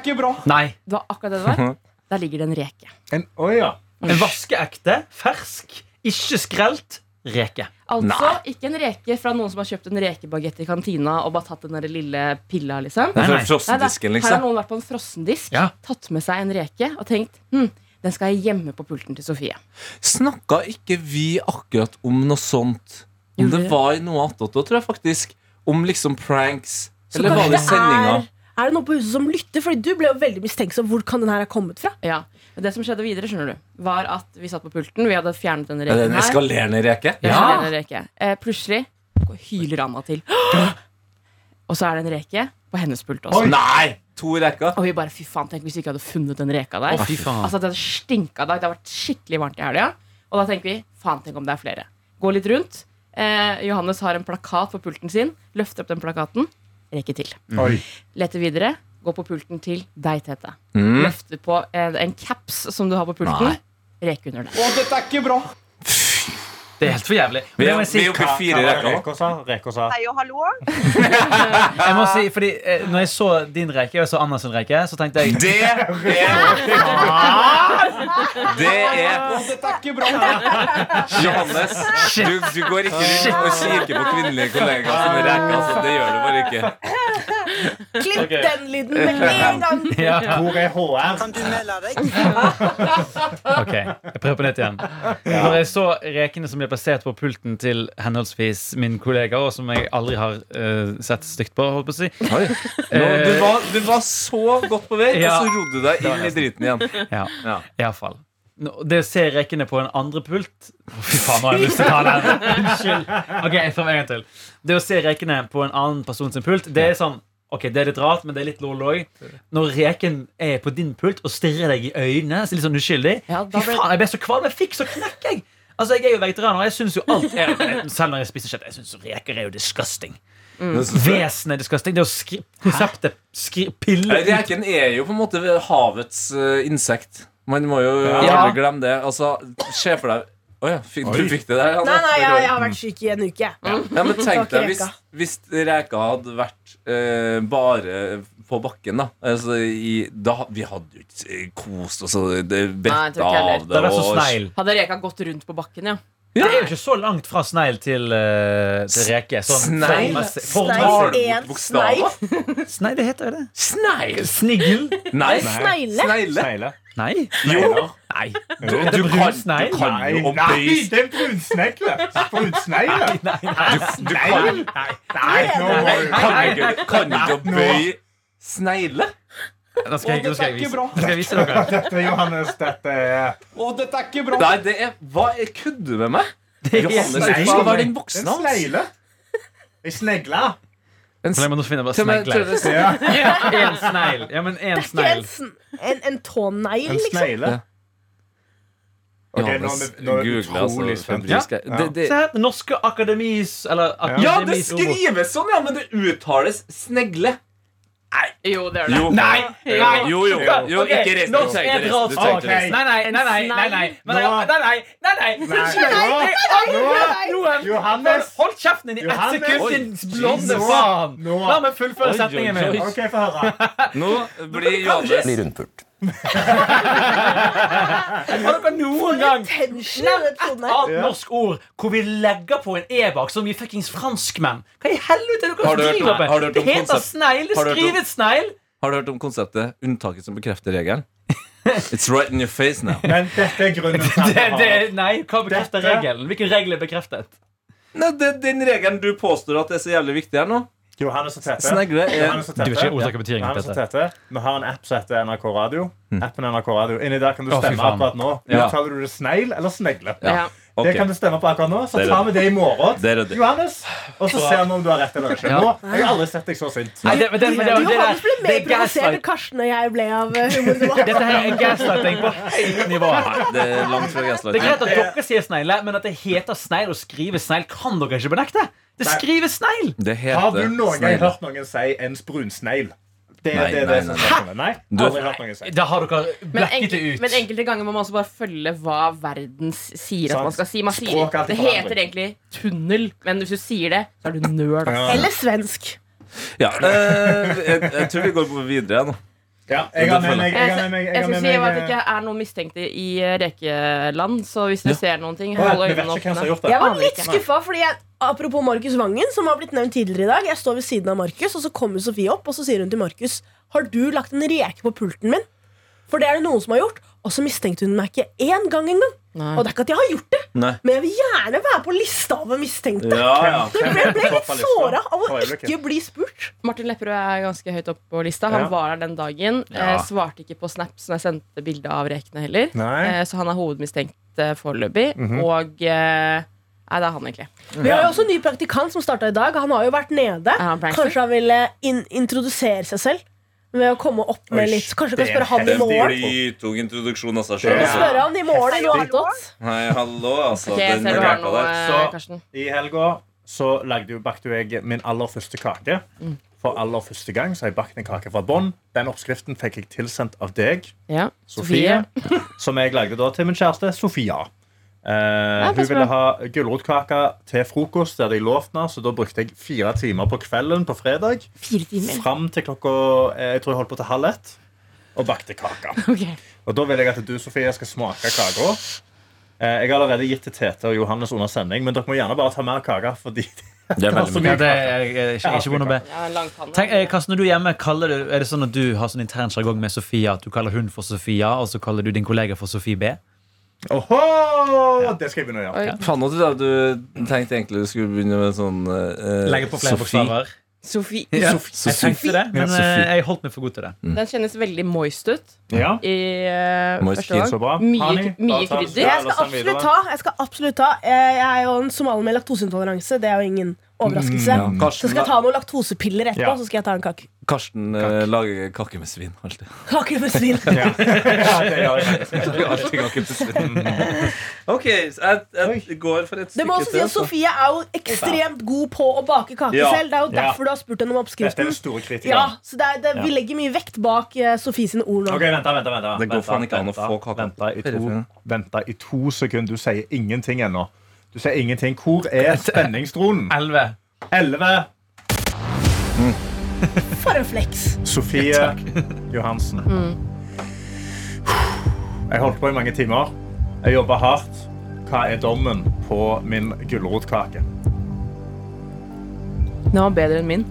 [SPEAKER 3] lig-
[SPEAKER 4] Nei.
[SPEAKER 3] det var akkurat det det var. Der ligger det en reke.
[SPEAKER 2] En, oi, ja.
[SPEAKER 4] En vaskeekte, fersk Ikke skrelt reke.
[SPEAKER 3] Altså ikke en reke fra noen som har kjøpt en rekebagett i kantina og bare tatt den der lille pilla, liksom.
[SPEAKER 4] Nei,
[SPEAKER 5] Fra
[SPEAKER 4] nei.
[SPEAKER 5] Frossendisken,
[SPEAKER 3] Her har
[SPEAKER 5] liksom.
[SPEAKER 3] noen vært på en frossendisk,
[SPEAKER 4] Ja.
[SPEAKER 3] tatt med seg en reke og tenkt hm, den skal jeg gjemme på pulten til Sofie.
[SPEAKER 5] Snakka ikke vi akkurat om noe sånt? Om
[SPEAKER 3] Gjorde
[SPEAKER 5] det
[SPEAKER 3] vi?
[SPEAKER 5] var i noe annet, da, tror jeg faktisk. Om liksom pranks.
[SPEAKER 7] Så
[SPEAKER 5] Eller var
[SPEAKER 7] kanskje
[SPEAKER 5] det sendinga?
[SPEAKER 7] Er, er det noen på huset som lytter? Fordi du ble jo veldig mistenksom. Hvor kan den her ha kommet fra?
[SPEAKER 3] Ja, men Det som skjedde videre, skjønner du, var at vi satt på pulten. Vi hadde fjernet denne
[SPEAKER 5] Er det
[SPEAKER 3] reken
[SPEAKER 5] en
[SPEAKER 3] her.
[SPEAKER 5] eskalerende reke?
[SPEAKER 3] Det er
[SPEAKER 4] Ja.
[SPEAKER 3] en reke. Eh, plutselig hyler Anna til. Og så er det en reke på hennes pult også.
[SPEAKER 5] Nei! To reker?
[SPEAKER 3] Og vi bare, fy faen, tenk hvis vi ikke hadde funnet den reka der.
[SPEAKER 4] Å, fy faen.
[SPEAKER 3] Altså, det hadde stinka da. Det har vært skikkelig varmt i helga. Og da tenker vi, faen, tenk om det er flere. Gå litt rundt. Eh, Johannes har en plakat på pulten sin. Løfter opp den plakaten. Rekke til.
[SPEAKER 2] Oi.
[SPEAKER 3] Leter videre. Gå på pulten til deg, Tete.
[SPEAKER 5] Mm.
[SPEAKER 3] Løfter på en, en caps som du har på pulten.
[SPEAKER 5] Nei.
[SPEAKER 3] Reke under den.
[SPEAKER 4] Det er helt for jævlig. Men
[SPEAKER 5] Vi
[SPEAKER 4] jeg
[SPEAKER 5] er
[SPEAKER 4] må
[SPEAKER 5] vi
[SPEAKER 4] si,
[SPEAKER 5] er oppe i fire reker.
[SPEAKER 2] Reker sa, reker sa.
[SPEAKER 8] Hei og hallo.
[SPEAKER 4] jeg må si fordi eh, Når jeg så din reke, og jeg så Anna sin reke, så tenkte jeg
[SPEAKER 5] Det er Det er Johannes, du, du går ikke rundt og kikker på kvinnelige kollegaer som reker. Altså, det gjør du bare ikke.
[SPEAKER 7] Klipp den lyden med en gang!
[SPEAKER 4] ja,
[SPEAKER 2] Hvor er HR?
[SPEAKER 8] Kan du melde deg?
[SPEAKER 4] Ok, jeg prøver på nytt igjen. Når jeg så rekene som ble plassert på pulten til henholdsvis min kollega, og som jeg aldri har eh, sett stygt på, holdt på å si
[SPEAKER 5] Oi. Nå, du, var, du var så godt på vei,
[SPEAKER 4] Ja.
[SPEAKER 5] og så rodde du deg inn i driten igjen.
[SPEAKER 4] Ja,
[SPEAKER 5] Ja.
[SPEAKER 4] i hvert fall. Nå- Det å se rekene på en andre pult Å, Fy faen, nå har jeg lyst til å ta den. Unnskyld. Ok, jeg tar meg en gang til. Det å se rekene på en annen person sin pult, det er sånn Ok, det er litt rart, men det er litt lol òg. Når reken er på din pult og stirrer deg i øynene, så litt sånn uskyldig
[SPEAKER 3] Ja, da
[SPEAKER 4] Fy
[SPEAKER 3] ble-
[SPEAKER 4] faen, jeg ble så kvalm. Jeg fikk så knekk, jeg. Altså, Jeg er jo vegetarianer, og jeg syns jo alt er Selv når jeg spiser kjøtt, jeg syns reker er jo disgusting. Vesenet er disgusting. Det å skri konseptet skri pille ut
[SPEAKER 5] Reken er jo på en måte havets eh, insekt. Man må jo
[SPEAKER 4] Ja.
[SPEAKER 5] aldri glemme det. Altså, Se for deg Å ja, fikk, du
[SPEAKER 2] Oi.
[SPEAKER 5] fikk det der? Anne?
[SPEAKER 7] Nei, nei, jeg, jeg har vært syk i en uke.
[SPEAKER 5] Ja, men tenk
[SPEAKER 7] Det var
[SPEAKER 5] deg
[SPEAKER 7] ikke
[SPEAKER 5] hvis,
[SPEAKER 7] reka.
[SPEAKER 5] hvis reka hadde vært eh, bare på bakken, da. Altså, i, da vi hadde jo ikke eh, kost oss og
[SPEAKER 3] Nei,
[SPEAKER 5] det
[SPEAKER 3] jeg
[SPEAKER 5] bretta
[SPEAKER 3] tror ikke heller.
[SPEAKER 5] av det.
[SPEAKER 4] Det er altså så
[SPEAKER 5] og-
[SPEAKER 4] sneil.
[SPEAKER 3] Hadde reka gått rundt på bakken, ja.
[SPEAKER 4] Det er jo ikke så langt fra snegl til, eh, til reke. Sånn
[SPEAKER 5] Snegl?
[SPEAKER 4] formmessig-
[SPEAKER 5] Har
[SPEAKER 4] formmessig-
[SPEAKER 5] du
[SPEAKER 7] Sneil, en
[SPEAKER 5] bort bokstaver?
[SPEAKER 4] Snegl, det heter jo det.
[SPEAKER 5] Sneil?
[SPEAKER 4] Snigel?
[SPEAKER 5] Nei.
[SPEAKER 7] Snegle.
[SPEAKER 5] Snegle?
[SPEAKER 2] Seile.
[SPEAKER 4] Nei.
[SPEAKER 5] Jo.
[SPEAKER 4] Nei.
[SPEAKER 5] Du,
[SPEAKER 4] Det er
[SPEAKER 5] du,
[SPEAKER 4] brun
[SPEAKER 5] kan,
[SPEAKER 4] snegl.
[SPEAKER 5] du kan
[SPEAKER 2] Nei,
[SPEAKER 5] jo å
[SPEAKER 2] nei,
[SPEAKER 5] bøye
[SPEAKER 2] det er en brunsnegle! Brunsnegle?
[SPEAKER 4] Nei, nei.
[SPEAKER 5] Du kan,
[SPEAKER 2] Nei, nå må du
[SPEAKER 5] kan ikke, kan ikke å bøye snegle?
[SPEAKER 4] Nå skal jeg, nå skal jeg vise,
[SPEAKER 2] bra.
[SPEAKER 4] nå skal jeg vise dere.
[SPEAKER 2] Dette, Johannes, dette er
[SPEAKER 5] Nei, det er Hva er kødder du med meg? Johannes,
[SPEAKER 2] snegle.
[SPEAKER 5] du skal være den
[SPEAKER 2] Det er
[SPEAKER 5] voksne
[SPEAKER 2] en
[SPEAKER 5] hans.
[SPEAKER 2] snegle. En snegle.
[SPEAKER 5] En
[SPEAKER 4] Men jeg må nå finne bare
[SPEAKER 5] Til og med- til og
[SPEAKER 4] snegler.
[SPEAKER 5] med-
[SPEAKER 2] Ja,
[SPEAKER 4] En snegl. Ja, men en
[SPEAKER 7] Ikke en,
[SPEAKER 4] snegl.
[SPEAKER 7] sn- en, en tånegl,
[SPEAKER 2] en
[SPEAKER 7] liksom.
[SPEAKER 2] snegle. Ok, nå er
[SPEAKER 5] Johannes,
[SPEAKER 2] vi- nå er vi
[SPEAKER 5] Google, altså,
[SPEAKER 2] utrolig spent.
[SPEAKER 5] febrilsk.
[SPEAKER 2] Ja.
[SPEAKER 5] Det- det-
[SPEAKER 4] Se her. Norske akademis Eller
[SPEAKER 5] Ja, det
[SPEAKER 4] akademis ord.
[SPEAKER 5] skrives sånn, ja, men det uttales snegle.
[SPEAKER 3] Jo, det gjør det.
[SPEAKER 5] Nei!
[SPEAKER 3] Nei.
[SPEAKER 5] Jo, jo. jo
[SPEAKER 4] Ok,
[SPEAKER 5] ikke resten.
[SPEAKER 4] norsk
[SPEAKER 5] Du trenger
[SPEAKER 4] er
[SPEAKER 5] ikke
[SPEAKER 4] bra
[SPEAKER 5] resten, du trenger ikke
[SPEAKER 2] språk.
[SPEAKER 5] resten.
[SPEAKER 4] Nei, nei, nei, nei, nei, nei. Men
[SPEAKER 2] Nå-
[SPEAKER 4] nei, nei, nei, nei. Unnskyld,
[SPEAKER 2] Nei, nå-
[SPEAKER 4] jeg- Johan,
[SPEAKER 2] Johannes!
[SPEAKER 4] Hold kjeften din i ett
[SPEAKER 2] Johannes.
[SPEAKER 4] sekund, din blonde
[SPEAKER 2] Jesus.
[SPEAKER 4] faen!
[SPEAKER 2] Nå-
[SPEAKER 4] La meg fullføre
[SPEAKER 5] Oi,
[SPEAKER 4] setningen
[SPEAKER 5] oi, oi.
[SPEAKER 4] min.
[SPEAKER 2] OK, få høre.
[SPEAKER 5] Nå blir Johannes
[SPEAKER 4] Har dere noen gang
[SPEAKER 7] Tension i den
[SPEAKER 4] nevnt et
[SPEAKER 7] tåneglen.
[SPEAKER 4] annet norsk ord hvor vi legger på en e bak som i fuckings franskmenn? Hva i helvete er det
[SPEAKER 5] Har du
[SPEAKER 4] dere
[SPEAKER 5] hørt om-
[SPEAKER 4] driver
[SPEAKER 5] har du
[SPEAKER 4] med?
[SPEAKER 5] hørt
[SPEAKER 4] Det
[SPEAKER 5] om
[SPEAKER 4] heter
[SPEAKER 5] konsept-
[SPEAKER 4] snegl. Det
[SPEAKER 5] har du hørt om-
[SPEAKER 4] skrives snegl.
[SPEAKER 5] Har du hørt om konseptet 'unntaket som bekrefter regelen'? It's right in your face now.
[SPEAKER 2] Men dette er grunnen til at
[SPEAKER 4] Det,
[SPEAKER 2] jeg
[SPEAKER 4] det,
[SPEAKER 2] har
[SPEAKER 4] nei, hva bekrefter
[SPEAKER 2] Dette-
[SPEAKER 4] regelen? Hvilken regel er bekreftet?
[SPEAKER 5] Nei, det er den regelen du påstår at er så jævlig viktig her nå.
[SPEAKER 2] Johannes og Tete.
[SPEAKER 5] Snegle er
[SPEAKER 2] Johannes og
[SPEAKER 4] Du vil ikke
[SPEAKER 2] Tete.
[SPEAKER 4] ordtaket betydningen
[SPEAKER 2] Johannes
[SPEAKER 4] på
[SPEAKER 2] og
[SPEAKER 4] dette.
[SPEAKER 2] Tete. Vi har en app som heter NRK Radio. Appen NRK Radio. Inni der kan du
[SPEAKER 4] Å, fy
[SPEAKER 2] stemme
[SPEAKER 4] faen.
[SPEAKER 2] akkurat nå.
[SPEAKER 5] Mm. Ja.
[SPEAKER 2] Uttaler du det sneil eller snegle?
[SPEAKER 3] Ja.
[SPEAKER 5] Ok.
[SPEAKER 2] Det kan du stemme på akkurat nå, så
[SPEAKER 5] Det er
[SPEAKER 2] tar vi det i morgen.
[SPEAKER 5] Det er det.
[SPEAKER 2] Johannes, og så ser vi om du har rett eller ikke.
[SPEAKER 4] Ja.
[SPEAKER 2] Nå, jeg har aldri sett deg så sint.
[SPEAKER 4] Nei, det, men det, men det,
[SPEAKER 7] Du
[SPEAKER 4] det,
[SPEAKER 7] Johannes ble
[SPEAKER 4] det, det er
[SPEAKER 7] mer provosert enn
[SPEAKER 4] gaslight.
[SPEAKER 7] Karsten og jeg ble av eh, humoren din.
[SPEAKER 4] Dette her er gaslighting på høyt nivå.
[SPEAKER 5] Det er langt fra
[SPEAKER 4] Det er greit
[SPEAKER 5] gaslighting.
[SPEAKER 4] at dere sier snegle, men at det heter snegl og skrives snegl, kan dere ikke benekte. Det
[SPEAKER 2] Nei.
[SPEAKER 4] skrives snegl!
[SPEAKER 5] Det
[SPEAKER 2] Har du
[SPEAKER 5] heter
[SPEAKER 2] noen gang
[SPEAKER 5] snegle.
[SPEAKER 2] hørt noen si en brunsneil? Det
[SPEAKER 5] Nei,
[SPEAKER 2] er det,
[SPEAKER 5] nei,
[SPEAKER 2] det som
[SPEAKER 5] nei,
[SPEAKER 2] er spørsmålet. Nei, aldri hørt noen si.
[SPEAKER 4] Da har dere
[SPEAKER 3] Men,
[SPEAKER 4] blekket det
[SPEAKER 3] enkel,
[SPEAKER 4] ut.
[SPEAKER 3] men enkelte ganger må man også bare følge hva verden s- sier at
[SPEAKER 2] Sant.
[SPEAKER 3] man skal si. Man sier,
[SPEAKER 2] Språk er alltid
[SPEAKER 3] det
[SPEAKER 2] forandring.
[SPEAKER 3] heter egentlig tunnel, men hvis du sier det, så er du nerd. ass.
[SPEAKER 2] Ja.
[SPEAKER 7] Eller svensk.
[SPEAKER 5] Ja, eh, jeg, jeg tror vi går videre nå.
[SPEAKER 2] Ja, jeg har med meg Jeg
[SPEAKER 3] Jeg,
[SPEAKER 2] har med meg, eh, jeg har
[SPEAKER 3] jeg skal
[SPEAKER 2] med
[SPEAKER 3] si at det
[SPEAKER 2] meg,
[SPEAKER 3] ikke er noen mistenkte i eh, rekeland, så hvis du ser noen ting,
[SPEAKER 2] Å,
[SPEAKER 3] hold
[SPEAKER 2] jeg- vi
[SPEAKER 3] øynene
[SPEAKER 2] vet ikke hvem som har
[SPEAKER 3] åpne.
[SPEAKER 2] gjort det.
[SPEAKER 7] Jeg var
[SPEAKER 3] Aner
[SPEAKER 7] litt
[SPEAKER 3] ikke.
[SPEAKER 7] skuffa, fordi jeg, apropos Markus Vangen, som har blitt nevnt tidligere i dag. Jeg står ved siden av Markus, og så kommer Sofie opp, og så sier hun til Markus Har du lagt en reke på pulten min? For det er det noen som har gjort. Og så mistenkte hun meg ikke én gang engang.
[SPEAKER 3] Nei.
[SPEAKER 7] Og det er ikke at jeg har gjort det,
[SPEAKER 5] Nei.
[SPEAKER 7] men jeg vil gjerne være på lista over mistenkte.
[SPEAKER 5] Ja, ja.
[SPEAKER 7] Så jeg ble, jeg ble litt
[SPEAKER 2] Toppa lista.
[SPEAKER 7] såra av å
[SPEAKER 2] For øyeblikket.
[SPEAKER 7] ikke bli spurt.
[SPEAKER 3] Martin Lepperød er ganske høyt oppe på lista. Han
[SPEAKER 2] Ja.
[SPEAKER 3] var der den dagen.
[SPEAKER 4] Ja.
[SPEAKER 3] Eh, svarte ikke på Snap, som jeg sendte bilde av rekene heller.
[SPEAKER 2] Nei. Mhm.
[SPEAKER 3] Eh, så han er hovedmistenkt eh, foreløpig. Og eh, Nei, det er han egentlig.
[SPEAKER 7] Vi har jo også en ny praktikant som starta i dag. Han har jo vært nede.
[SPEAKER 3] Er han prankster?
[SPEAKER 7] Kanskje han ville in introdusere seg selv ved å komme opp med
[SPEAKER 2] Oi,
[SPEAKER 7] litt. Kanskje du kan
[SPEAKER 2] det er
[SPEAKER 7] spørre han i
[SPEAKER 5] Den
[SPEAKER 7] morgen?
[SPEAKER 5] blytung introduksjon av seg
[SPEAKER 2] Ja.
[SPEAKER 5] sjøl.
[SPEAKER 2] Ja.
[SPEAKER 5] Altså.
[SPEAKER 7] Spørre han i morgen.
[SPEAKER 2] Heftig.
[SPEAKER 7] Hallo, hallo.
[SPEAKER 5] Nei, hallo, altså.
[SPEAKER 3] Ok, jeg
[SPEAKER 5] den
[SPEAKER 3] ser du har
[SPEAKER 5] hjelpa
[SPEAKER 3] noe, eh,
[SPEAKER 5] der.
[SPEAKER 2] Så-
[SPEAKER 3] Karsten.
[SPEAKER 2] I helga så lagde jo, bakte jo jeg min aller første kake. For aller første gang så har jeg bakt en kake fra bånn. Den oppskriften fikk jeg tilsendt av deg,
[SPEAKER 3] Ja.
[SPEAKER 2] Sofie. som jeg lagde da til min kjæreste Sofia. Eh, hun
[SPEAKER 3] passer
[SPEAKER 2] ville
[SPEAKER 3] bra.
[SPEAKER 2] ha gulrotkake til frokost, det hadde jeg lovt henne, så da brukte jeg fire timer på kvelden på fredag.
[SPEAKER 3] Fire timer.
[SPEAKER 2] Fram til klokka eh, jeg tror jeg holdt på til halv ett, og bakte kaka.
[SPEAKER 3] Ok.
[SPEAKER 2] Og da vil jeg at du, Sofie, skal smake kaka. Eh, Jeg har allerede gitt til Tete og Johannes under sending, men dere må gjerne bare ta mer kake. Fordi
[SPEAKER 5] Det er
[SPEAKER 2] veldig
[SPEAKER 5] veldig
[SPEAKER 2] mye.
[SPEAKER 5] mye.
[SPEAKER 4] Ja, det er ikke, ikke vondt å be.
[SPEAKER 3] Ja, en langpanne.
[SPEAKER 4] Tenk, eh, Karsten, når du er hjemme, kaller du, er det sånn at du har sånn intern jargong med Sofia? At du kaller hun for Sofia, og så kaller du din kollega for Sofie B?
[SPEAKER 2] Oho! Det skal jeg begynne å gjøre.
[SPEAKER 3] Oi.
[SPEAKER 5] Faen, nå trodde jeg du tenkte egentlig du skulle begynne med sånn eh,
[SPEAKER 4] Legge på flere
[SPEAKER 5] Sofie.
[SPEAKER 4] bokstaver.
[SPEAKER 3] Sofie.
[SPEAKER 4] Ja.
[SPEAKER 5] Sofie.
[SPEAKER 4] Jeg tenkte det, men
[SPEAKER 5] Ja,
[SPEAKER 4] eh,
[SPEAKER 5] Sofie.
[SPEAKER 4] jeg holdt meg for god til det.
[SPEAKER 2] Mm.
[SPEAKER 3] Den kjennes veldig moist ut.
[SPEAKER 2] Ja.
[SPEAKER 3] i eh,
[SPEAKER 5] Moist
[SPEAKER 3] første
[SPEAKER 5] kid,
[SPEAKER 2] så
[SPEAKER 3] gang.
[SPEAKER 2] bra. Honey,
[SPEAKER 3] Mye,
[SPEAKER 2] da
[SPEAKER 3] mye
[SPEAKER 2] tar vi-
[SPEAKER 3] krydder.
[SPEAKER 2] Ja,
[SPEAKER 7] Jeg
[SPEAKER 2] la
[SPEAKER 7] skal
[SPEAKER 2] oss sende
[SPEAKER 7] absolutt ta. Jeg, skal absolutt ta. Eh, jeg er jo en somalier med laktoseintoleranse. Det er jo ingen overraskelse.
[SPEAKER 5] Ja,
[SPEAKER 7] Så
[SPEAKER 5] Karsten,
[SPEAKER 7] skal jeg ta noen laktosepiller etterpå,
[SPEAKER 2] Ja.
[SPEAKER 7] så skal jeg ta en kake.
[SPEAKER 5] Karsten eh, lager kake med svin. Alltid.
[SPEAKER 7] Kake med svin.
[SPEAKER 5] Lager alltid kake med svin. OK, så jeg, jeg går for et
[SPEAKER 7] Det må
[SPEAKER 5] stykke
[SPEAKER 7] også si
[SPEAKER 5] altså.
[SPEAKER 7] at Sofie er jo ekstremt god på å bake kake
[SPEAKER 5] Ja.
[SPEAKER 7] selv. Det er jo
[SPEAKER 2] Ja.
[SPEAKER 7] derfor du har spurt henne om
[SPEAKER 2] Dette er
[SPEAKER 7] oppskriften.
[SPEAKER 2] den store
[SPEAKER 7] Ja,
[SPEAKER 2] kritikeren.
[SPEAKER 7] så det er, det, Vi legger mye vekt bak uh, Sofie sine ord nå.
[SPEAKER 2] Ok, vent, da, vent, da, vent, da.
[SPEAKER 5] Det går
[SPEAKER 2] Vent da,
[SPEAKER 5] faen ikke an å
[SPEAKER 2] vent da,
[SPEAKER 5] få kaka
[SPEAKER 2] vent da i
[SPEAKER 5] på telefonen.
[SPEAKER 2] to- Vent da i to sekunder. Du sier ingenting ennå. Du sier ingenting. Hvor er spenningstronen?
[SPEAKER 4] 11.
[SPEAKER 2] 11.
[SPEAKER 7] For en flex.
[SPEAKER 2] Sofie Johansen.
[SPEAKER 7] Mm.
[SPEAKER 2] Jeg holdt på i mange timer. Jeg jobba hardt. Hva er dommen på min gulrotkake?
[SPEAKER 3] Den var bedre enn min.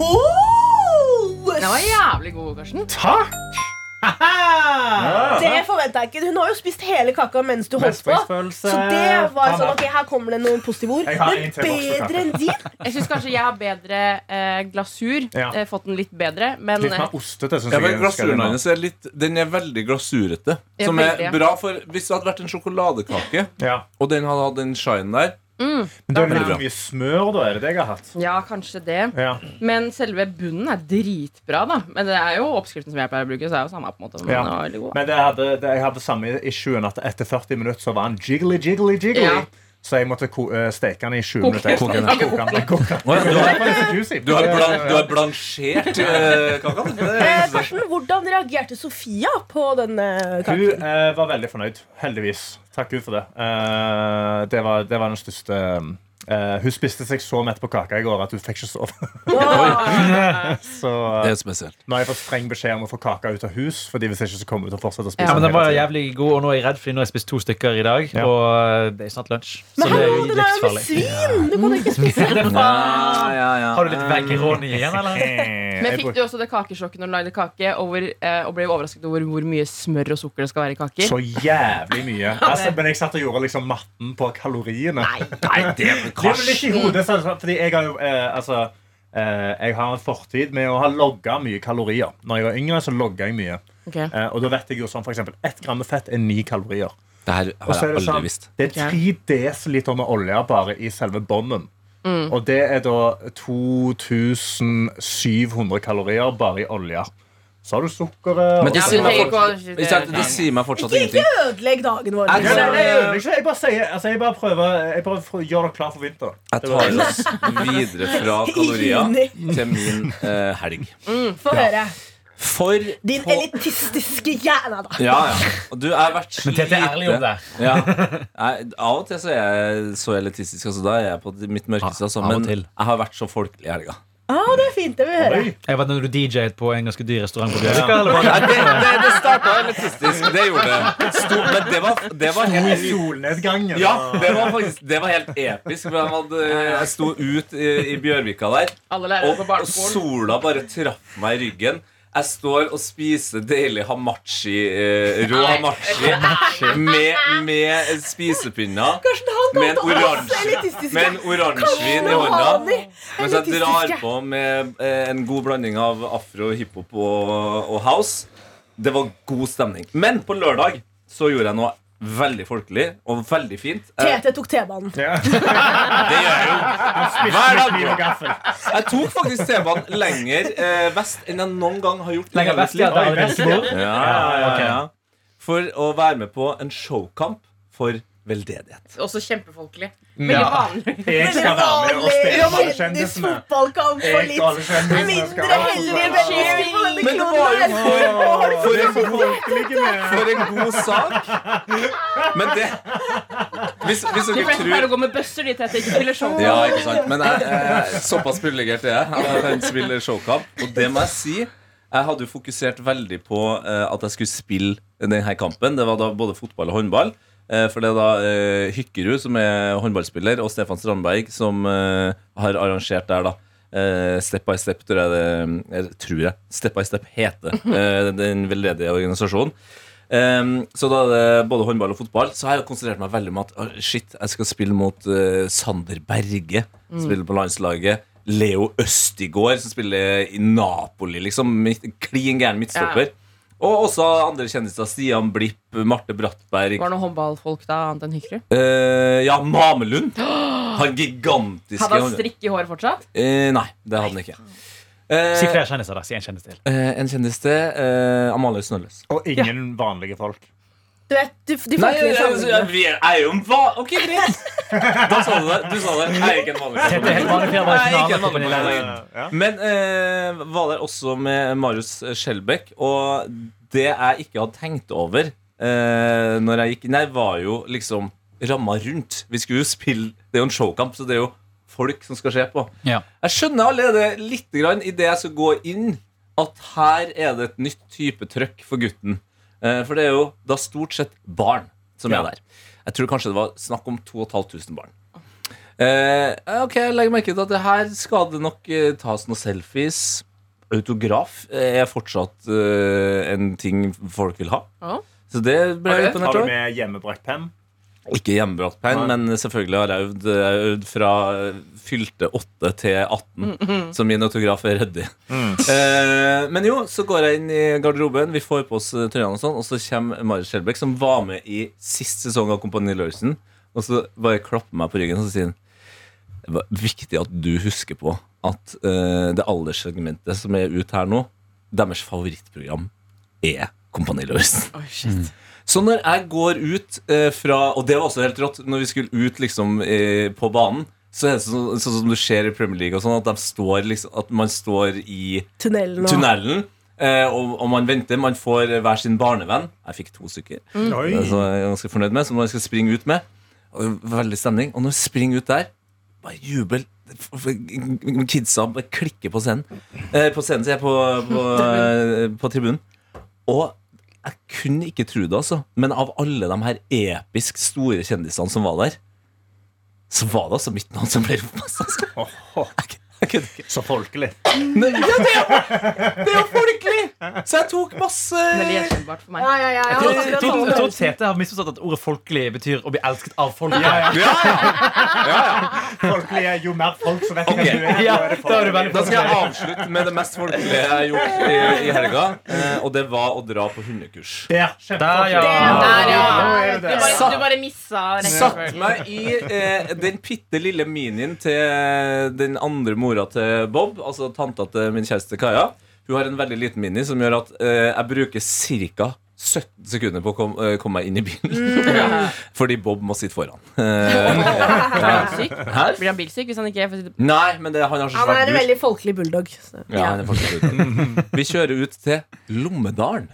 [SPEAKER 7] Oh!
[SPEAKER 3] Den var jævlig god, Karsten.
[SPEAKER 2] Takk!
[SPEAKER 7] Det forventa jeg ikke. Hun har jo spist hele kaka mens du holdt på.
[SPEAKER 2] Mestringsfølelse.
[SPEAKER 7] Så det var
[SPEAKER 2] Ta
[SPEAKER 7] sånn,
[SPEAKER 2] den.
[SPEAKER 7] ok, Her kommer det noen positive ord.
[SPEAKER 2] eh, Jeg har
[SPEAKER 7] Men
[SPEAKER 2] en til voksen kake.
[SPEAKER 7] bedre enn din?
[SPEAKER 3] Jeg syns kanskje jeg har bedre eh, glasur.
[SPEAKER 2] Ja.
[SPEAKER 3] Eh, fått den litt bedre. Men eh,
[SPEAKER 2] Litt mer ostete, syns
[SPEAKER 5] Ja,
[SPEAKER 2] jeg.
[SPEAKER 5] men
[SPEAKER 2] jeg ønsker det
[SPEAKER 5] Glasuren
[SPEAKER 2] nå.
[SPEAKER 5] hennes er litt Den er veldig glasurete.
[SPEAKER 3] Ja,
[SPEAKER 5] Som er
[SPEAKER 3] veldig, ja.
[SPEAKER 5] bra for Hvis det hadde vært en sjokoladekake,
[SPEAKER 2] Ja.
[SPEAKER 5] og den hadde hatt den shinen der
[SPEAKER 2] Men det er
[SPEAKER 5] Veldig
[SPEAKER 2] veldig
[SPEAKER 5] bra.
[SPEAKER 2] mye smør, da. Er det det jeg har hatt?
[SPEAKER 3] eh, ja, kanskje det.
[SPEAKER 2] Ja.
[SPEAKER 3] Men selve bunnen er dritbra, da. Men det er jo oppskriften som jeg pleier å bruke. Så er det jo samme på en måte men
[SPEAKER 2] Ja.
[SPEAKER 3] den var veldig god.
[SPEAKER 2] Men det hadde, det, jeg hadde samme issuen at etter 40 minutter så var han jiggly, jiggly, jiggly.
[SPEAKER 3] Ja.
[SPEAKER 2] Så jeg måtte ko eh, steke den i 20
[SPEAKER 3] Koke
[SPEAKER 2] minutter.
[SPEAKER 3] den.
[SPEAKER 2] Koke den. Koke den. Koke den.
[SPEAKER 5] Å, ja,
[SPEAKER 2] Det
[SPEAKER 5] du,
[SPEAKER 2] var
[SPEAKER 5] har,
[SPEAKER 2] derfor den er så juicy.
[SPEAKER 5] du, har blan, du har blansjert eh, kaka. Det er
[SPEAKER 7] Eh,
[SPEAKER 5] interessant.
[SPEAKER 7] Karsten, hvordan reagerte Sofia på den
[SPEAKER 2] Hun
[SPEAKER 7] eh, kaken?
[SPEAKER 2] eh, var veldig fornøyd, heldigvis. Takk Gud for det. Eh, det, var, det var den største eh, Hun spiste seg så mett på kaka i går at hun fikk ikke sove. så
[SPEAKER 5] Det
[SPEAKER 2] eh,
[SPEAKER 5] er spesielt.
[SPEAKER 2] nå har jeg fått streng beskjed om å få kaka ut av hus. Fordi hvis ikke så kommer hun til å fortsette å spise
[SPEAKER 3] Ja,
[SPEAKER 4] Ja, men
[SPEAKER 2] den
[SPEAKER 4] Den var
[SPEAKER 2] hele tiden.
[SPEAKER 4] jævlig god, og nå er jeg redd, fordi nå har jeg spist to stykker i dag.
[SPEAKER 2] Ja.
[SPEAKER 4] Og eh, det er snart lunsj.
[SPEAKER 7] Men hallo, den er jo med svin! Du kan jo ikke spise den.
[SPEAKER 4] Har du litt veggeroni igjen, eller?
[SPEAKER 2] Eh,
[SPEAKER 3] Men
[SPEAKER 2] jeg
[SPEAKER 3] fikk
[SPEAKER 2] bruk-
[SPEAKER 3] du også det kakesjokket når du lagde kake, og, hvor, eh, og ble overrasket over hvor mye smør og sukker det skal være i kaker?
[SPEAKER 2] så jævlig mye. Altså, men jeg satt og gjorde liksom matten på kaloriene.
[SPEAKER 5] Nei, det er
[SPEAKER 2] Det er vel ikke i hodet, sånn, sånn, fordi jeg har jo eh, altså eh, jeg har en fortid med å ha logga mye kalorier. Når jeg var yngre, så logga jeg mye.
[SPEAKER 3] Ok.
[SPEAKER 2] Eh, og da vet jeg jo sånn for eksempel, Ett gram med fett er ni kalorier.
[SPEAKER 5] Det her
[SPEAKER 2] Og
[SPEAKER 5] har
[SPEAKER 2] så er
[SPEAKER 5] jeg
[SPEAKER 2] det,
[SPEAKER 5] aldri
[SPEAKER 2] sånn,
[SPEAKER 5] visst.
[SPEAKER 2] det er tre desiliter med olje bare i selve bånden.
[SPEAKER 5] Mm.
[SPEAKER 2] Og det er da 2700 kalorier bare i olje. Så har du sukkeret
[SPEAKER 5] Men det
[SPEAKER 3] Ja,
[SPEAKER 5] sier
[SPEAKER 3] men
[SPEAKER 5] meg
[SPEAKER 3] tenk
[SPEAKER 5] fortsatt,
[SPEAKER 3] å-
[SPEAKER 5] Ikke sant, det sier meg fortsatt ingenting.
[SPEAKER 7] Ødelegg dagen
[SPEAKER 5] Er
[SPEAKER 7] vår.
[SPEAKER 2] ja,
[SPEAKER 5] det-
[SPEAKER 7] liksom.
[SPEAKER 2] nei, nei, jeg ødelegger ikke. Jeg bare, sier, altså, jeg bare prøver Jeg bare for- gjør dere klar for vinteren.
[SPEAKER 5] Jeg tar oss videre fra kalorier
[SPEAKER 7] I
[SPEAKER 5] til min eh, helg.
[SPEAKER 7] Få høre.
[SPEAKER 5] For
[SPEAKER 7] Din
[SPEAKER 5] på-
[SPEAKER 7] elitistiske hjerne, da.
[SPEAKER 5] Ja, ja. Og Du, jeg har vært
[SPEAKER 4] Men Tete er ærlig om det.
[SPEAKER 5] Ja. Jeg, av og til så er jeg så elitistisk. Altså, da er jeg på mitt mørkeste. Altså,
[SPEAKER 4] Av og
[SPEAKER 5] men
[SPEAKER 4] til.
[SPEAKER 5] jeg har vært så folkelig i helga.
[SPEAKER 7] Å, det er fint. Det vil vi høre.
[SPEAKER 2] Oi.
[SPEAKER 4] Jeg vet når du DJ-et på en ganske dyr restaurant på Bjørvika. eller hva?
[SPEAKER 5] Nei, det, det, det starta elitistisk. Det gjorde det. Sto, men det var, det var
[SPEAKER 2] I
[SPEAKER 5] helt
[SPEAKER 2] solnedgangen.
[SPEAKER 5] ja, det var faktisk Det var helt episk. for Jeg, hadde, jeg sto ut i, i Bjørvika der,
[SPEAKER 3] Alle lærere
[SPEAKER 5] og,
[SPEAKER 3] på
[SPEAKER 5] og
[SPEAKER 3] barneskolen.
[SPEAKER 5] sola bare traff meg i ryggen. Jeg står og spiser deilig hamachi, eh, rå hamachi med, med spisepinner.
[SPEAKER 7] Karsten, han
[SPEAKER 5] Med en
[SPEAKER 7] kalte oss
[SPEAKER 5] oransje-
[SPEAKER 7] elitistiske.
[SPEAKER 5] Med en oransjevin i
[SPEAKER 7] Faen,
[SPEAKER 5] hånda.
[SPEAKER 7] de
[SPEAKER 5] Mens jeg drar
[SPEAKER 7] elitistiske.
[SPEAKER 5] på med eh, en god blanding av afro, hiphop og, og house. Det var god stemning. Men på lørdag så gjorde jeg noe veldig folkelig og veldig fint. Eh,
[SPEAKER 7] Tete tok T-banen.
[SPEAKER 2] Ja.
[SPEAKER 5] det gjør jeg jo hver dag.
[SPEAKER 2] Kniv og gaffel.
[SPEAKER 5] Jeg tok faktisk T-banen lenger eh, vest enn jeg noen gang har gjort. i
[SPEAKER 4] Lenger
[SPEAKER 5] hele
[SPEAKER 4] vest,
[SPEAKER 5] mitt
[SPEAKER 4] ja.
[SPEAKER 5] liv.
[SPEAKER 4] Der er det bord.
[SPEAKER 5] Ja, ja, ja,
[SPEAKER 4] ok.
[SPEAKER 5] ja. For å være med på en showkamp for veldedighet.
[SPEAKER 3] Også kjempefolkelig. Veldig vanlig.
[SPEAKER 2] Jeg skal være med og stemme alle kjendisene.
[SPEAKER 7] Kjendisfotballkamp for
[SPEAKER 2] Jeg og alle
[SPEAKER 7] litt
[SPEAKER 2] kjendisene skal
[SPEAKER 7] mindre heldige mennesker på denne
[SPEAKER 5] Men det var jo
[SPEAKER 7] kloden. her.
[SPEAKER 2] Åh, For en folkelig med.
[SPEAKER 5] For en god sak! Men det Hvis, hvis
[SPEAKER 3] De
[SPEAKER 5] dere
[SPEAKER 3] fleste pleier
[SPEAKER 5] tror
[SPEAKER 3] å gå med bøsser dit etter ikke spiller show.
[SPEAKER 5] Ja, ikke sant. Men jeg, eh, såpass privilegert er jeg. Jeg kan spille showkamp. Og det må jeg si. Jeg hadde jo fokusert veldig på eh, at jeg skulle spille denne kampen. Det var da både fotball og håndball. Eh, for det er da eh, Hykkerud, som er håndballspiller, og Stefan Strandberg, som eh, har arrangert der, da. Eh, step by Step, tror jeg det jeg tror jeg. Step by Step heter eh, den veldedige organisasjonen. Ehm, så da er det både håndball og fotball. Så har jeg konsentrert meg veldig om at «Åh, shit, jeg skal spille mot eh, Sander Berge, som
[SPEAKER 3] Mm.
[SPEAKER 5] spiller på landslaget. Leo Østigård, som spiller i Napoli, liksom. midt- Klin gæren midtstopper. Og også andre kjendiser. Stian Blipp, Marte Brattberg.
[SPEAKER 3] Var det noen håndballfolk da, annet enn Hykkerud?
[SPEAKER 5] eh, ja, Mamelund. Han gigantiske
[SPEAKER 3] Hadde han
[SPEAKER 5] hånd-
[SPEAKER 3] strikk i håret fortsatt?
[SPEAKER 5] Eh, Nei, det hadde han ikke. Eh,
[SPEAKER 4] Si flere kjendiser, da. Si en kjendis til.
[SPEAKER 5] eh, en kjendis til. eh, Amalie Snølles.
[SPEAKER 2] Og ingen vanlige folk.
[SPEAKER 7] Du vet, du, de sånn
[SPEAKER 5] Nei, jeg, jeg,
[SPEAKER 7] folkelige
[SPEAKER 5] jeg,
[SPEAKER 7] samlingene.
[SPEAKER 5] jeg, er jo en va... Ok, greit. Da sa du det. Du sa det. Jeg er ikke en vanlig
[SPEAKER 4] Tete er helt vanlig fyr, bare
[SPEAKER 5] Nei, ikke
[SPEAKER 4] ikke
[SPEAKER 5] en
[SPEAKER 4] navnet på
[SPEAKER 5] vanlig
[SPEAKER 4] din leder.
[SPEAKER 2] Ja.
[SPEAKER 5] Men eh, var der også med Marius Skjelbæk, og det jeg ikke hadde tenkt over eh, når jeg gikk Nei, var jo liksom ramma rundt. Vi skulle jo spille Det er jo en showkamp, så det er jo folk som skal se på.
[SPEAKER 4] Ja.
[SPEAKER 5] Jeg skjønner allerede litt grann i det jeg skal gå inn, at her er det et nytt type trøkk for gutten. Eh, For det er jo da stort sett barn som
[SPEAKER 4] Ja.
[SPEAKER 5] er der. Jeg tror kanskje det var snakk om 2500 barn. Eh, ok, jeg legger merke til at det her skal det nok eh, tas noen selfies. Autograf er fortsatt eh, en ting folk vil ha.
[SPEAKER 3] Ja.
[SPEAKER 5] Så det ble
[SPEAKER 3] Har du
[SPEAKER 5] jeg
[SPEAKER 3] det?
[SPEAKER 5] imponert
[SPEAKER 2] Har du
[SPEAKER 5] over.
[SPEAKER 2] med hjemmebrakt penn?
[SPEAKER 5] Ikke hjemmebrakt penn,
[SPEAKER 2] Nei.
[SPEAKER 5] men selvfølgelig har jeg øvd, jeg har øvd fra fylte 8 til 18. Så min autograf er ryddig. Eh, men jo, så går jeg inn i garderoben, vi får på oss eh, trøyene og sånn, og så kommer Marius Skjelbæk, som var med i sist sesong av Kompani Lauritzen, og så bare klapper meg på ryggen og så sier han Det var viktig at du husker på at eh, det alderssegmentet som er ut her nå, deres favorittprogram er Kompani Lauritzen.
[SPEAKER 3] Oi, shit.
[SPEAKER 5] Så når jeg går ut eh, fra Og det var også helt rått. Når vi skulle ut liksom eh, på banen, så er det sånn, sånn som du ser i Premier League, og sånn at, de står, liksom, at man står i
[SPEAKER 7] Tunnelen og
[SPEAKER 5] tunnelen. eh, Og, og man venter. Man får hver sin barnevenn. Jeg fikk to stykker.
[SPEAKER 2] Oi.
[SPEAKER 5] Det er så jeg er ganske fornøyd med, som man skal springe ut med. Og det var Veldig stemning. Og når jeg springer ut der, bare jubel. F- f- Kidsa bare klikker på scenen. Eh, på scenen, sier jeg, på, på, eh, på tribunen. Og jeg kunne ikke tro det, altså. Men av alle de her episk store kjendisene som var der, så var det altså mitt navn som ble ropt. mest, altså.
[SPEAKER 2] Åh,
[SPEAKER 5] Jeg- jeg kødder ikke.
[SPEAKER 2] Så folkelig.
[SPEAKER 5] Men- Ja, det er jo- det er jo folkelig! Så jeg tok
[SPEAKER 3] Veldig
[SPEAKER 5] masse
[SPEAKER 3] gjenkjennbart for meg.
[SPEAKER 7] Ja, ja, ja, ja.
[SPEAKER 4] Jeg
[SPEAKER 7] akkurat
[SPEAKER 4] tror-
[SPEAKER 7] sånn.
[SPEAKER 4] jeg tror Tete har misforstått at ordet folkelig betyr å bli elsket av folk.
[SPEAKER 2] Folkelig er jo mer folk som vet
[SPEAKER 5] Ok.
[SPEAKER 2] hvem du er.
[SPEAKER 4] Ja,
[SPEAKER 2] jo er det
[SPEAKER 4] da er du veldig
[SPEAKER 5] Da
[SPEAKER 2] folkelig.
[SPEAKER 5] skal jeg avslutte med det mest folkelige jeg har gjort i, i helga. eh, Og det var å dra på hundekurs.
[SPEAKER 2] Der,
[SPEAKER 4] Der, ja.
[SPEAKER 3] Der, ja.
[SPEAKER 2] Nå er
[SPEAKER 3] Du
[SPEAKER 2] det der.
[SPEAKER 3] bare, du bare missa
[SPEAKER 5] Satt
[SPEAKER 3] rekkefølgen.
[SPEAKER 5] meg i eh, den bitte lille minien til den andre mora til Bob, altså tanta til min kjæreste Kaja. Hun har en veldig liten mini som gjør at eh, jeg bruker ca. 17 sekunder på å kom, eh, komme meg inn i bilen.
[SPEAKER 7] Mm.
[SPEAKER 5] Fordi Bob må sitte foran. Eh,
[SPEAKER 3] Blir han syk?
[SPEAKER 5] Hæ?
[SPEAKER 3] Blir han bilsyk hvis han ikke får sitte
[SPEAKER 5] Nei, men det, han har så
[SPEAKER 7] Han
[SPEAKER 5] svært
[SPEAKER 7] er en
[SPEAKER 5] bur.
[SPEAKER 7] veldig folkelig bulldog. så-
[SPEAKER 5] Ja, han er fortsatt ute. Vi kjører ut til Lommedalen.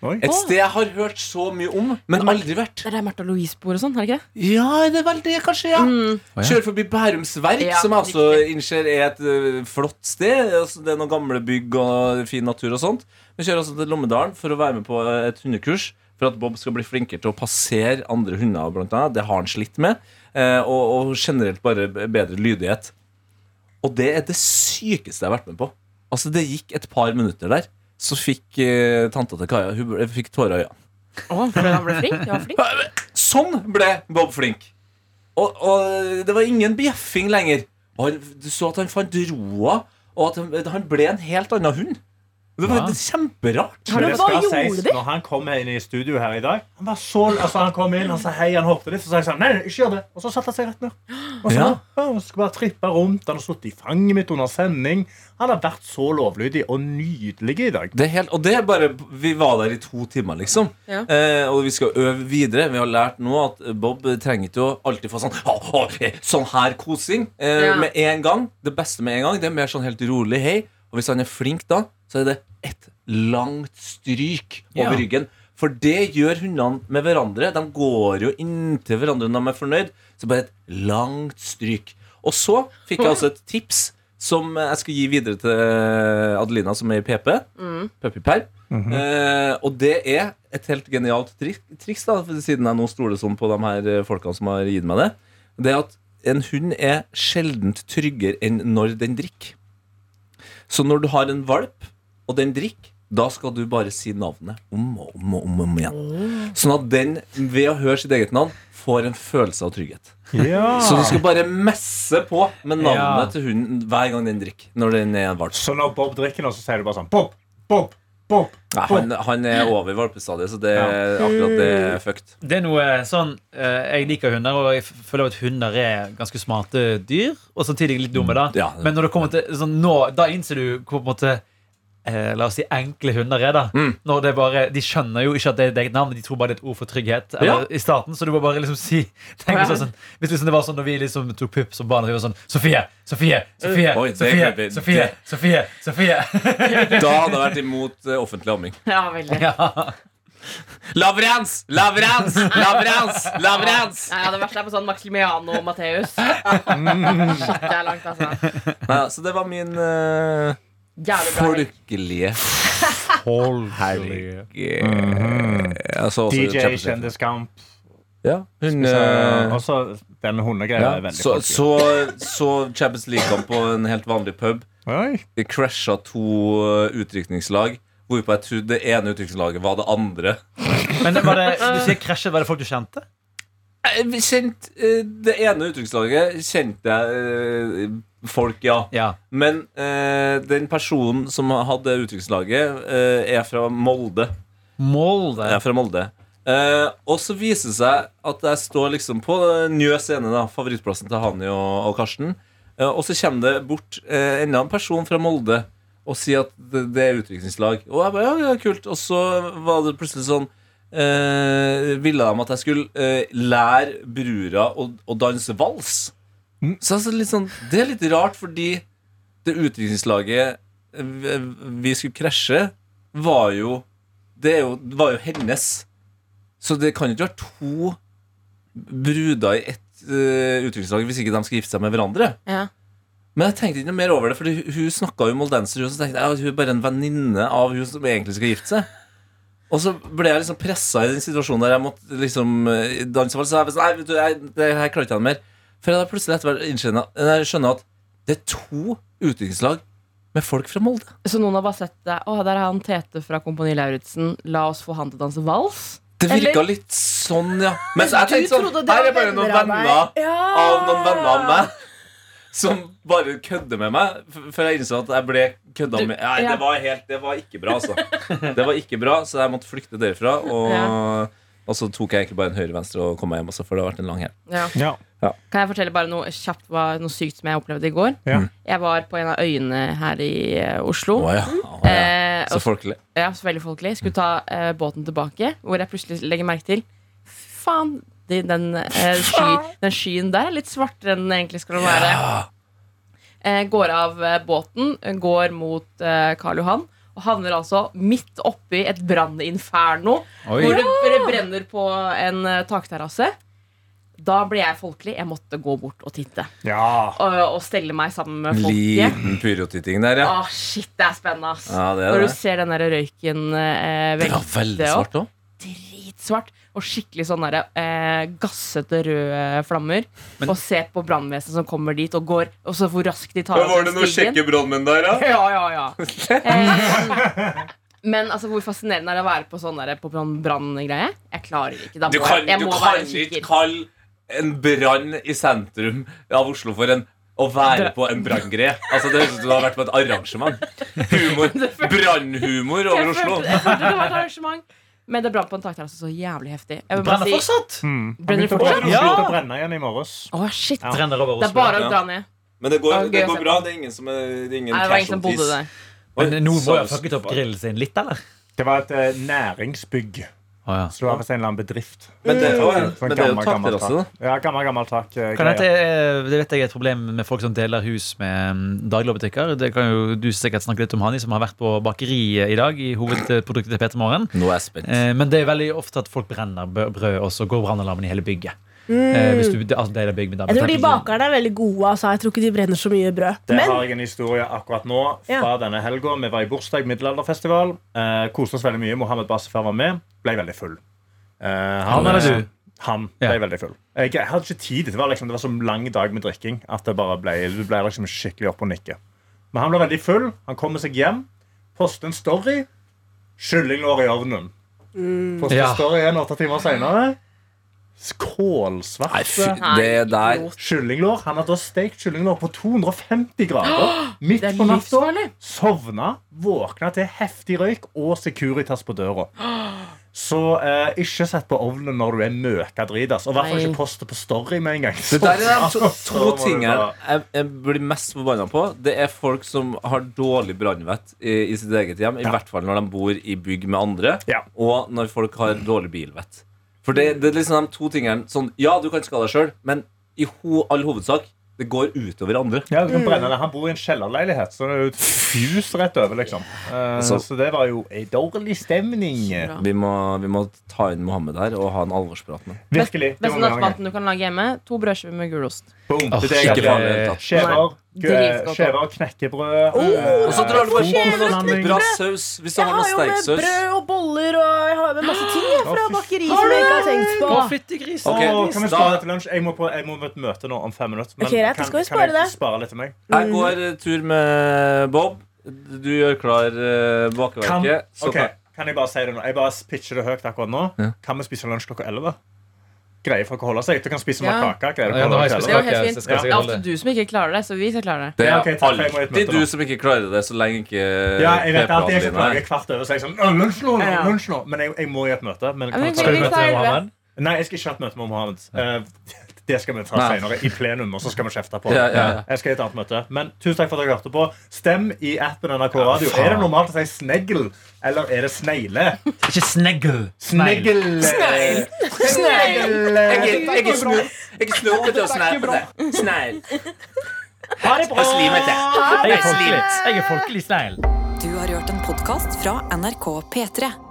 [SPEAKER 2] Oi.
[SPEAKER 5] Et sted jeg har hørt så mye om, men aldri vært.
[SPEAKER 3] Det er der Martha Louise bor og sånn, er det ikke det?
[SPEAKER 5] Ja, det er vel det, kanskje, ja.
[SPEAKER 4] Å, ja.
[SPEAKER 5] Mm. Kjører forbi Bærums Verk,
[SPEAKER 3] Ja,
[SPEAKER 5] som jeg også
[SPEAKER 3] riktig.
[SPEAKER 5] innser er et ø, flott sted. Altså, Det er noen gamle bygg og fin natur og sånt. Men kjører altså til Lommedalen for å være med på eh, et hundekurs. For at Bob skal bli flinkere til å passere andre hunder. Blant annet. Det har han slitt med. eh, Og, og generelt bare b- bedre lydighet. Og det er det sykeste jeg har vært med på. Altså Det gikk et par minutter der, så fikk eh, tanta til Kaja Hun ble- fikk tårer i øynene.
[SPEAKER 3] Å, fordi han ble flink? Ja, flink.
[SPEAKER 5] Sånn ble Bob flink. Og, og det var ingen bjeffing lenger. Og han, du så at han fant roa, og at han, han ble en helt annen hund. Det var
[SPEAKER 4] Ja.
[SPEAKER 5] det er kjemperart.
[SPEAKER 7] Men
[SPEAKER 2] det
[SPEAKER 7] hva
[SPEAKER 2] skal
[SPEAKER 7] gjorde
[SPEAKER 2] sies,
[SPEAKER 7] de?
[SPEAKER 2] Når han kom inn i studio her i dag Han var så, altså han kom inn, han sa hei, han hoppet litt, så sa jeg sånn Nei, nei, ikke gjør det. Og så satte han seg rett ned. Og så, ja.
[SPEAKER 5] Ja.
[SPEAKER 2] han skulle bare trippe rundt. Han har sittet i fanget mitt under sending. Han har vært så lovlydig og nydelig i dag.
[SPEAKER 5] Det er helt, og det er bare Vi var der i to timer, liksom.
[SPEAKER 3] Ja.
[SPEAKER 5] Eh, og vi skal øve videre. Vi har lært nå at Bob trenger ikke å alltid få sånn «Å, å, eh», Sånn her kosing eh,
[SPEAKER 3] Ja.
[SPEAKER 5] med en gang. Det beste med en gang, det er mer sånn helt rolig hei. Og hvis han er flink da, så er det ett langt stryk over
[SPEAKER 4] Ja.
[SPEAKER 5] ryggen. For det gjør hundene med hverandre. De går jo inntil hverandre når de er fornøyd. Så bare et langt stryk. Og så fikk jeg også et tips som jeg skal gi videre til Adelina, som er i PP. Puppy Perp. Eh, og det er et helt genialt trik triks, da, for siden jeg nå stoler sånn på de her eh, folkene som har gitt meg det. Det er at en hund er sjeldent tryggere enn når den drikker. Så når du har en valp, og den drikker, da skal du bare si navnet om og om og om, og om igjen. Sånn at den, ved å høre sitt eget navn, får en følelse av trygghet. Så du skal bare messe på med navnet
[SPEAKER 4] Ja.
[SPEAKER 5] til hunden hver gang den drikker. Når den er en valp.
[SPEAKER 2] Så når Bob drikker nå, så sier du bare sånn Bob, Bob, Bob.
[SPEAKER 5] Nei, han, han er over valpestadiet, så det, akkurat det er fucked.
[SPEAKER 4] Det er noe sånn eh, Jeg liker hunder, og jeg f- føler at hunder er ganske smarte dyr. Og samtidig litt dumme, da.
[SPEAKER 5] Mm, Ja.
[SPEAKER 4] Men når det kommer til sånn, nå, da innser du hvor på en måte eh, La oss si enkle hunder er, da.
[SPEAKER 5] Mm.
[SPEAKER 4] Når det er bare, de skjønner jo ikke at det er et eget navn, de tror bare det er et ord for trygghet. Eller, I starten, Så du må bare liksom si tenke sånn, sånn, Hvis liksom det var sånn når vi liksom tok pupp som barn, og vi var sånn Sofie, Sofie, Sofie,
[SPEAKER 5] Oi, det
[SPEAKER 4] Sofie,
[SPEAKER 5] kan vi-
[SPEAKER 4] Sofie,
[SPEAKER 5] det-
[SPEAKER 4] Sofie, Sofie.
[SPEAKER 5] Da hadde jeg vært imot eh, offentlig amming.
[SPEAKER 3] Ja, veldig.
[SPEAKER 4] ja.
[SPEAKER 5] Lavrans! Lavrans! Lavrans! Lavrans!
[SPEAKER 3] Nei, ja, det verste er på sånn Maximiano og Matteus. Shit, det er langt, altså.
[SPEAKER 5] Nei, så det var min eh,
[SPEAKER 3] Jævlig bra. helg.
[SPEAKER 5] folkelige helg.
[SPEAKER 2] Mhm.
[SPEAKER 5] Jeg så altså også
[SPEAKER 2] DJ
[SPEAKER 5] Champions League.
[SPEAKER 2] Kjendiskamp.
[SPEAKER 5] Ja, hun
[SPEAKER 2] Så-
[SPEAKER 5] eh,
[SPEAKER 2] Også denne hundegreia altså, er
[SPEAKER 5] ja.
[SPEAKER 2] veldig
[SPEAKER 5] Så,
[SPEAKER 2] folkelig.
[SPEAKER 5] så, så Champions League-kamp på en helt vanlig pub.
[SPEAKER 2] Oi.
[SPEAKER 5] Vi crasha to eh, utrykningslag, hvorpå jeg trodde det ene utrykningslaget var det andre.
[SPEAKER 4] Men var det, du sier krasjet, var det folk du kjente?
[SPEAKER 5] Eh, Kjent, eh, det ene uttrykkslaget kjente jeg eh, folk, ja.
[SPEAKER 4] Ja.
[SPEAKER 5] Men eh, den personen som hadde uttrykkslaget, eh, er fra Molde.
[SPEAKER 4] Molde.
[SPEAKER 5] Er fra Molde. Eh, og så viser det seg at jeg står liksom på Njø scene, da, favorittplassen til Hani og, og Karsten. Eh, og så kommer det bort eh, enda en person fra Molde og sier at det, det er utrykningslag. Og jeg bare, ja, ja, kult Og så var det plutselig sånn eh, Ville de at jeg skulle eh, lære brura å, å danse vals? Så altså, litt sånn, det er litt rart, fordi det utrykningslaget vi, vi skulle krasje, var jo det er jo, det var jo hennes. Så det kan jo ikke være to bruder i ett uh, uttrykkslag hvis ikke de skal gifte seg med hverandre.
[SPEAKER 3] Ja.
[SPEAKER 5] Men jeg tenkte ikke noe mer over det, for hun snakka jo moldenser, hun, så tenkte jeg at hun er bare en venninne av hun som egentlig skal gifte seg. Og så ble jeg liksom pressa i den situasjonen der jeg måtte liksom eh, danse vals. Så jeg bare sånn, Nei, vet du, jeg, det her klarer ikke jeg mer. For jeg da plutselig etter hvert innskjønner- nei, skjønner at det er to uttrykkslag med folk fra Molde.
[SPEAKER 3] Så noen har bare sett deg. Å, der er han Tete fra Kompani Lauritzen. La oss få han til å danse vals.
[SPEAKER 5] Det virka
[SPEAKER 3] Eller-
[SPEAKER 5] litt sånn, ja. Mens jeg
[SPEAKER 7] Du
[SPEAKER 5] tenkte
[SPEAKER 7] trodde
[SPEAKER 5] sånn
[SPEAKER 7] det
[SPEAKER 5] Her er
[SPEAKER 7] var
[SPEAKER 5] bare noen
[SPEAKER 7] venner av
[SPEAKER 5] venner
[SPEAKER 7] meg.
[SPEAKER 5] av noen venner av meg som bare kødder med meg. f- Før jeg innså at jeg ble kødda
[SPEAKER 3] Du-
[SPEAKER 5] med. Nei,
[SPEAKER 3] ja.
[SPEAKER 5] det var, helt, det var ikke bra, altså. Det var ikke bra, så jeg måtte flykte derfra. Og, og så tok jeg egentlig bare en høyre-venstre og kom meg hjem også, for det har vært en lang helg.
[SPEAKER 3] Ja.
[SPEAKER 2] Ja.
[SPEAKER 3] Kan jeg fortelle bare noe kjapt hva- noe sykt som jeg opplevde i går?
[SPEAKER 2] Ja.
[SPEAKER 3] Jeg var på en av øyene her i eh, Oslo.
[SPEAKER 5] Mm. Å ja. Å, ja.
[SPEAKER 3] Eh,
[SPEAKER 5] Så
[SPEAKER 3] og,
[SPEAKER 5] folkelig.
[SPEAKER 3] ja, så veldig folkelig. Skulle ta eh, båten tilbake, hvor jeg plutselig legger merke til Faen! de- Den, eh, sky, den skyen der er litt svartere enn den egentlig skal være.
[SPEAKER 5] Ja.
[SPEAKER 3] Eh, går av eh, båten, eh, går mot eh, Karl Johan Og havner altså midt oppi et branninferno
[SPEAKER 8] Oi.
[SPEAKER 3] hvor det, hvor det brenner på en eh, takterrasse. Da ble jeg folkelig. Jeg måtte gå bort og titte.
[SPEAKER 2] Ja.
[SPEAKER 3] Og, og stelle meg sammen med folket.
[SPEAKER 5] Liten pyrotitting der, ja.
[SPEAKER 3] Åh, shit, det er spennende, ass.
[SPEAKER 5] Ja, det er
[SPEAKER 3] Når
[SPEAKER 5] det.
[SPEAKER 3] du ser den der røyken eh,
[SPEAKER 5] Det var veldig svart òg.
[SPEAKER 3] Dritsvart. Og skikkelig sånn derre eh, gassete røde flammer. og se på brannvesenet som kommer dit, og går Og så hvor raskt de tar av seg stigen.
[SPEAKER 5] brannmenn der,
[SPEAKER 3] Ja, ja, ja. Eh, Men altså, hvor fascinerende er det å være på sånn der, på brann- branngreie? Jeg klarer det ikke. Da
[SPEAKER 5] Du
[SPEAKER 3] må
[SPEAKER 5] kan,
[SPEAKER 3] jeg, jeg
[SPEAKER 5] du
[SPEAKER 3] må
[SPEAKER 5] kan
[SPEAKER 3] være
[SPEAKER 5] ikke
[SPEAKER 3] usikker.
[SPEAKER 5] kalle en brann i sentrum av Oslo for en å være på en branngreie. Altså, det høres ut som du har vært på et arrangement. Humor, Brannhumor over
[SPEAKER 3] Jeg
[SPEAKER 5] Oslo.
[SPEAKER 3] følte, jeg følte det var et arrangement. Men det brant på en takterrasse så jævlig heftig. Jeg vil bare
[SPEAKER 4] Brenner
[SPEAKER 3] si-
[SPEAKER 4] fortsatt!
[SPEAKER 3] Brenner det fortsatt?
[SPEAKER 2] Ja.
[SPEAKER 4] Ja.
[SPEAKER 2] Begynte å brenne igjen i morges.
[SPEAKER 3] Å, shit.
[SPEAKER 2] Ja.
[SPEAKER 4] Brenner over
[SPEAKER 3] Det er
[SPEAKER 4] Oslo.
[SPEAKER 3] bare
[SPEAKER 5] Ja.
[SPEAKER 3] å dra ned.
[SPEAKER 5] Men det
[SPEAKER 3] Ja, gøy å se på.
[SPEAKER 5] Det er ingen som er det er ingen
[SPEAKER 3] Nei, det var ingen som bodde
[SPEAKER 5] casualties.
[SPEAKER 3] der.
[SPEAKER 4] Men noen må jo ha
[SPEAKER 5] Sorry.
[SPEAKER 4] fucket opp grillen sin litt, eller?
[SPEAKER 2] Det var et eh, næringsbygg.
[SPEAKER 4] Å, ja.
[SPEAKER 2] Så det var visst en eller annen bedrift.
[SPEAKER 5] Men det er jo,
[SPEAKER 2] Så en
[SPEAKER 5] men det er jo
[SPEAKER 2] gammel, gammel
[SPEAKER 5] takterrasse, da.
[SPEAKER 2] tak. Ja, gammel, gammel tak. eh,
[SPEAKER 4] Kan dette,
[SPEAKER 2] greie.
[SPEAKER 4] det vet jeg er et problem med folk som deler hus med mm, dagligvarebutikker. Det kan jo du sikkert snakke litt om, Hani, som har vært på bakeriet i dag. I hovedproduktet til Peter Morgen.
[SPEAKER 5] Nå er jeg spent.
[SPEAKER 4] Eh, Men det er veldig ofte at folk brenner bø- brød, og så går brannalarmen i hele bygget. Eh, Hvis du altså deler bygg med damer.
[SPEAKER 7] Jeg tror de bakerne er veldig gode. Altså. Jeg tror ikke de brenner så mye brød.
[SPEAKER 2] Der
[SPEAKER 7] Men
[SPEAKER 2] har jeg en historie akkurat nå fra
[SPEAKER 7] Ja.
[SPEAKER 2] denne helga. Vi var i bursdag, middelalderfestival. Eh, Koste oss veldig mye. Mohammed Bassefer var med. Ble veldig full. Eh,
[SPEAKER 4] Han eller du?
[SPEAKER 2] Han
[SPEAKER 4] Ja.
[SPEAKER 2] ble veldig full. Jeg, jeg hadde ikke tid. Det var, liksom, det var så lang dag med drikking at det bare ble, du ble liksom skikkelig opp og nikke. Men han ble veldig full. Han kommer seg hjem, poster en story. Kyllinglår i ovnen.
[SPEAKER 5] Mm.
[SPEAKER 2] Poster
[SPEAKER 4] Ja.
[SPEAKER 2] story en åtte timer seinere. Kålsvarte
[SPEAKER 5] Nei, fy, det der
[SPEAKER 2] kyllinglår. Han har da stekt kyllinglår på 250 grader. Midt
[SPEAKER 3] Det er
[SPEAKER 2] på natta.
[SPEAKER 3] livsfarlig.
[SPEAKER 2] Sovna, våkna til heftig røyk og Securitas på døra. Så eh, ikke sett på ovnen når du er møka dritas. Og i hvert fall
[SPEAKER 3] Nei.
[SPEAKER 2] ikke post det på Story med en gang.
[SPEAKER 5] Det der er de to,
[SPEAKER 2] Så
[SPEAKER 5] to
[SPEAKER 2] må du
[SPEAKER 5] tingene
[SPEAKER 2] bare-
[SPEAKER 5] jeg, jeg blir mest forbanna på. Det er folk som har dårlig brannvett i, i sitt eget hjem. I
[SPEAKER 2] Ja.
[SPEAKER 5] hvert fall når de bor i bygg med andre,
[SPEAKER 2] Ja.
[SPEAKER 5] og når folk har dårlig bilvett. For det, det er liksom de to tingene sånn, Ja, du kan skade deg sjøl, men i ho, all hovedsak det går utover andre.
[SPEAKER 2] Ja,
[SPEAKER 3] Mm.
[SPEAKER 2] du kan brenne det. Han bor i en kjellerleilighet, så det er jo et fjus rett over. liksom eh,
[SPEAKER 5] Så-
[SPEAKER 2] så. det var jo ei dårlig stemning.
[SPEAKER 3] bra.
[SPEAKER 5] Vi må, vi må ta inn Mohammed her og ha en alvorsprat med ham.
[SPEAKER 2] Virkelig. Det
[SPEAKER 3] Beste
[SPEAKER 2] var mange ganger.
[SPEAKER 3] nattmaten sånn du kan lage hjemme? To brødskiver med gulost.
[SPEAKER 2] Boom.
[SPEAKER 4] Åh,
[SPEAKER 2] Det er
[SPEAKER 5] Ikke
[SPEAKER 2] det jeg
[SPEAKER 5] farlig i det hele tatt.
[SPEAKER 2] Skjever,
[SPEAKER 3] Dritgodt.
[SPEAKER 2] skjever, knekkebrød eh,
[SPEAKER 5] Og så drar du på
[SPEAKER 2] frokostblanding.
[SPEAKER 5] bra saus hvis du
[SPEAKER 7] jeg
[SPEAKER 5] har noe
[SPEAKER 7] har jo med
[SPEAKER 5] sterksaus.
[SPEAKER 7] brød og boller og jeg har med masse ting jeg, fra
[SPEAKER 2] Å, fy
[SPEAKER 7] bakeri som jeg ikke har tenkt på.
[SPEAKER 4] Å, fytti grisen!
[SPEAKER 5] Ok,
[SPEAKER 2] Åh, kan vi
[SPEAKER 5] da-
[SPEAKER 2] spare det til lunsj? Jeg må, på, jeg må på et møte nå om fem minutter.
[SPEAKER 7] Ok, greit, da
[SPEAKER 2] kan,
[SPEAKER 7] skal vi
[SPEAKER 2] kan
[SPEAKER 7] spare
[SPEAKER 2] jeg
[SPEAKER 7] det.
[SPEAKER 2] spare litt til meg?
[SPEAKER 5] Jeg går eh, tur med Bob. Du gjør klar eh,
[SPEAKER 2] Kan,
[SPEAKER 5] bakeverket. Så
[SPEAKER 2] ok, kan jeg bare si det nå? Jeg bare pitcher det høyt akkurat nå. Kan vi spise lunsj klokka 11? Greier folk å holde seg? Du kan spise mer
[SPEAKER 3] Ja.
[SPEAKER 2] kake. Greier
[SPEAKER 4] Ja, nå
[SPEAKER 2] folk å
[SPEAKER 4] har jeg
[SPEAKER 2] holde seg
[SPEAKER 4] spist
[SPEAKER 3] Det var helt
[SPEAKER 4] kake,
[SPEAKER 3] fint.
[SPEAKER 4] så skal jeg
[SPEAKER 3] Det er
[SPEAKER 4] sikkert holde
[SPEAKER 3] ofte du som ikke klarer det, så vi skal klare det.
[SPEAKER 5] Det er
[SPEAKER 2] Ja, ok, takk, jeg må i et
[SPEAKER 5] alltid
[SPEAKER 2] møte nå.
[SPEAKER 5] du som ikke klarer det, så lenge ikke
[SPEAKER 2] ja, jeg vet at jeg
[SPEAKER 5] PP-planen
[SPEAKER 2] skal
[SPEAKER 5] din
[SPEAKER 2] klage
[SPEAKER 5] er.
[SPEAKER 2] kvart over, så jeg er sånn «Å, Lunsj nå!
[SPEAKER 3] Ja.
[SPEAKER 2] lunsj nå Men jeg, jeg må i et møte. Men kan
[SPEAKER 3] men
[SPEAKER 2] vi ta
[SPEAKER 4] Skal
[SPEAKER 2] det?
[SPEAKER 4] du møte Mohammed?
[SPEAKER 2] Nei, jeg skal ikke ha et møte med Mohammed. Eh, det skal vi ta
[SPEAKER 5] Nei.
[SPEAKER 2] senere i plenum. og så skal vi kjefte på det.
[SPEAKER 5] Ja, ja, ja.
[SPEAKER 2] Jeg skal i et annet møte. Men tusen takk for at dere hørte på. Stem i appen NRK Radio. er det normalt å si snegl, eller er det snegle?
[SPEAKER 4] Ikke snegl!
[SPEAKER 2] Snegl! Snegl! Snegl!
[SPEAKER 5] Jeg er snu- jeg er snoket til å snerpe det. Snegl.
[SPEAKER 2] Ha det bra!
[SPEAKER 4] Jeg er folkelig. Jeg er folkelig snegl.
[SPEAKER 1] Du har hørt en podkast fra NRK P3.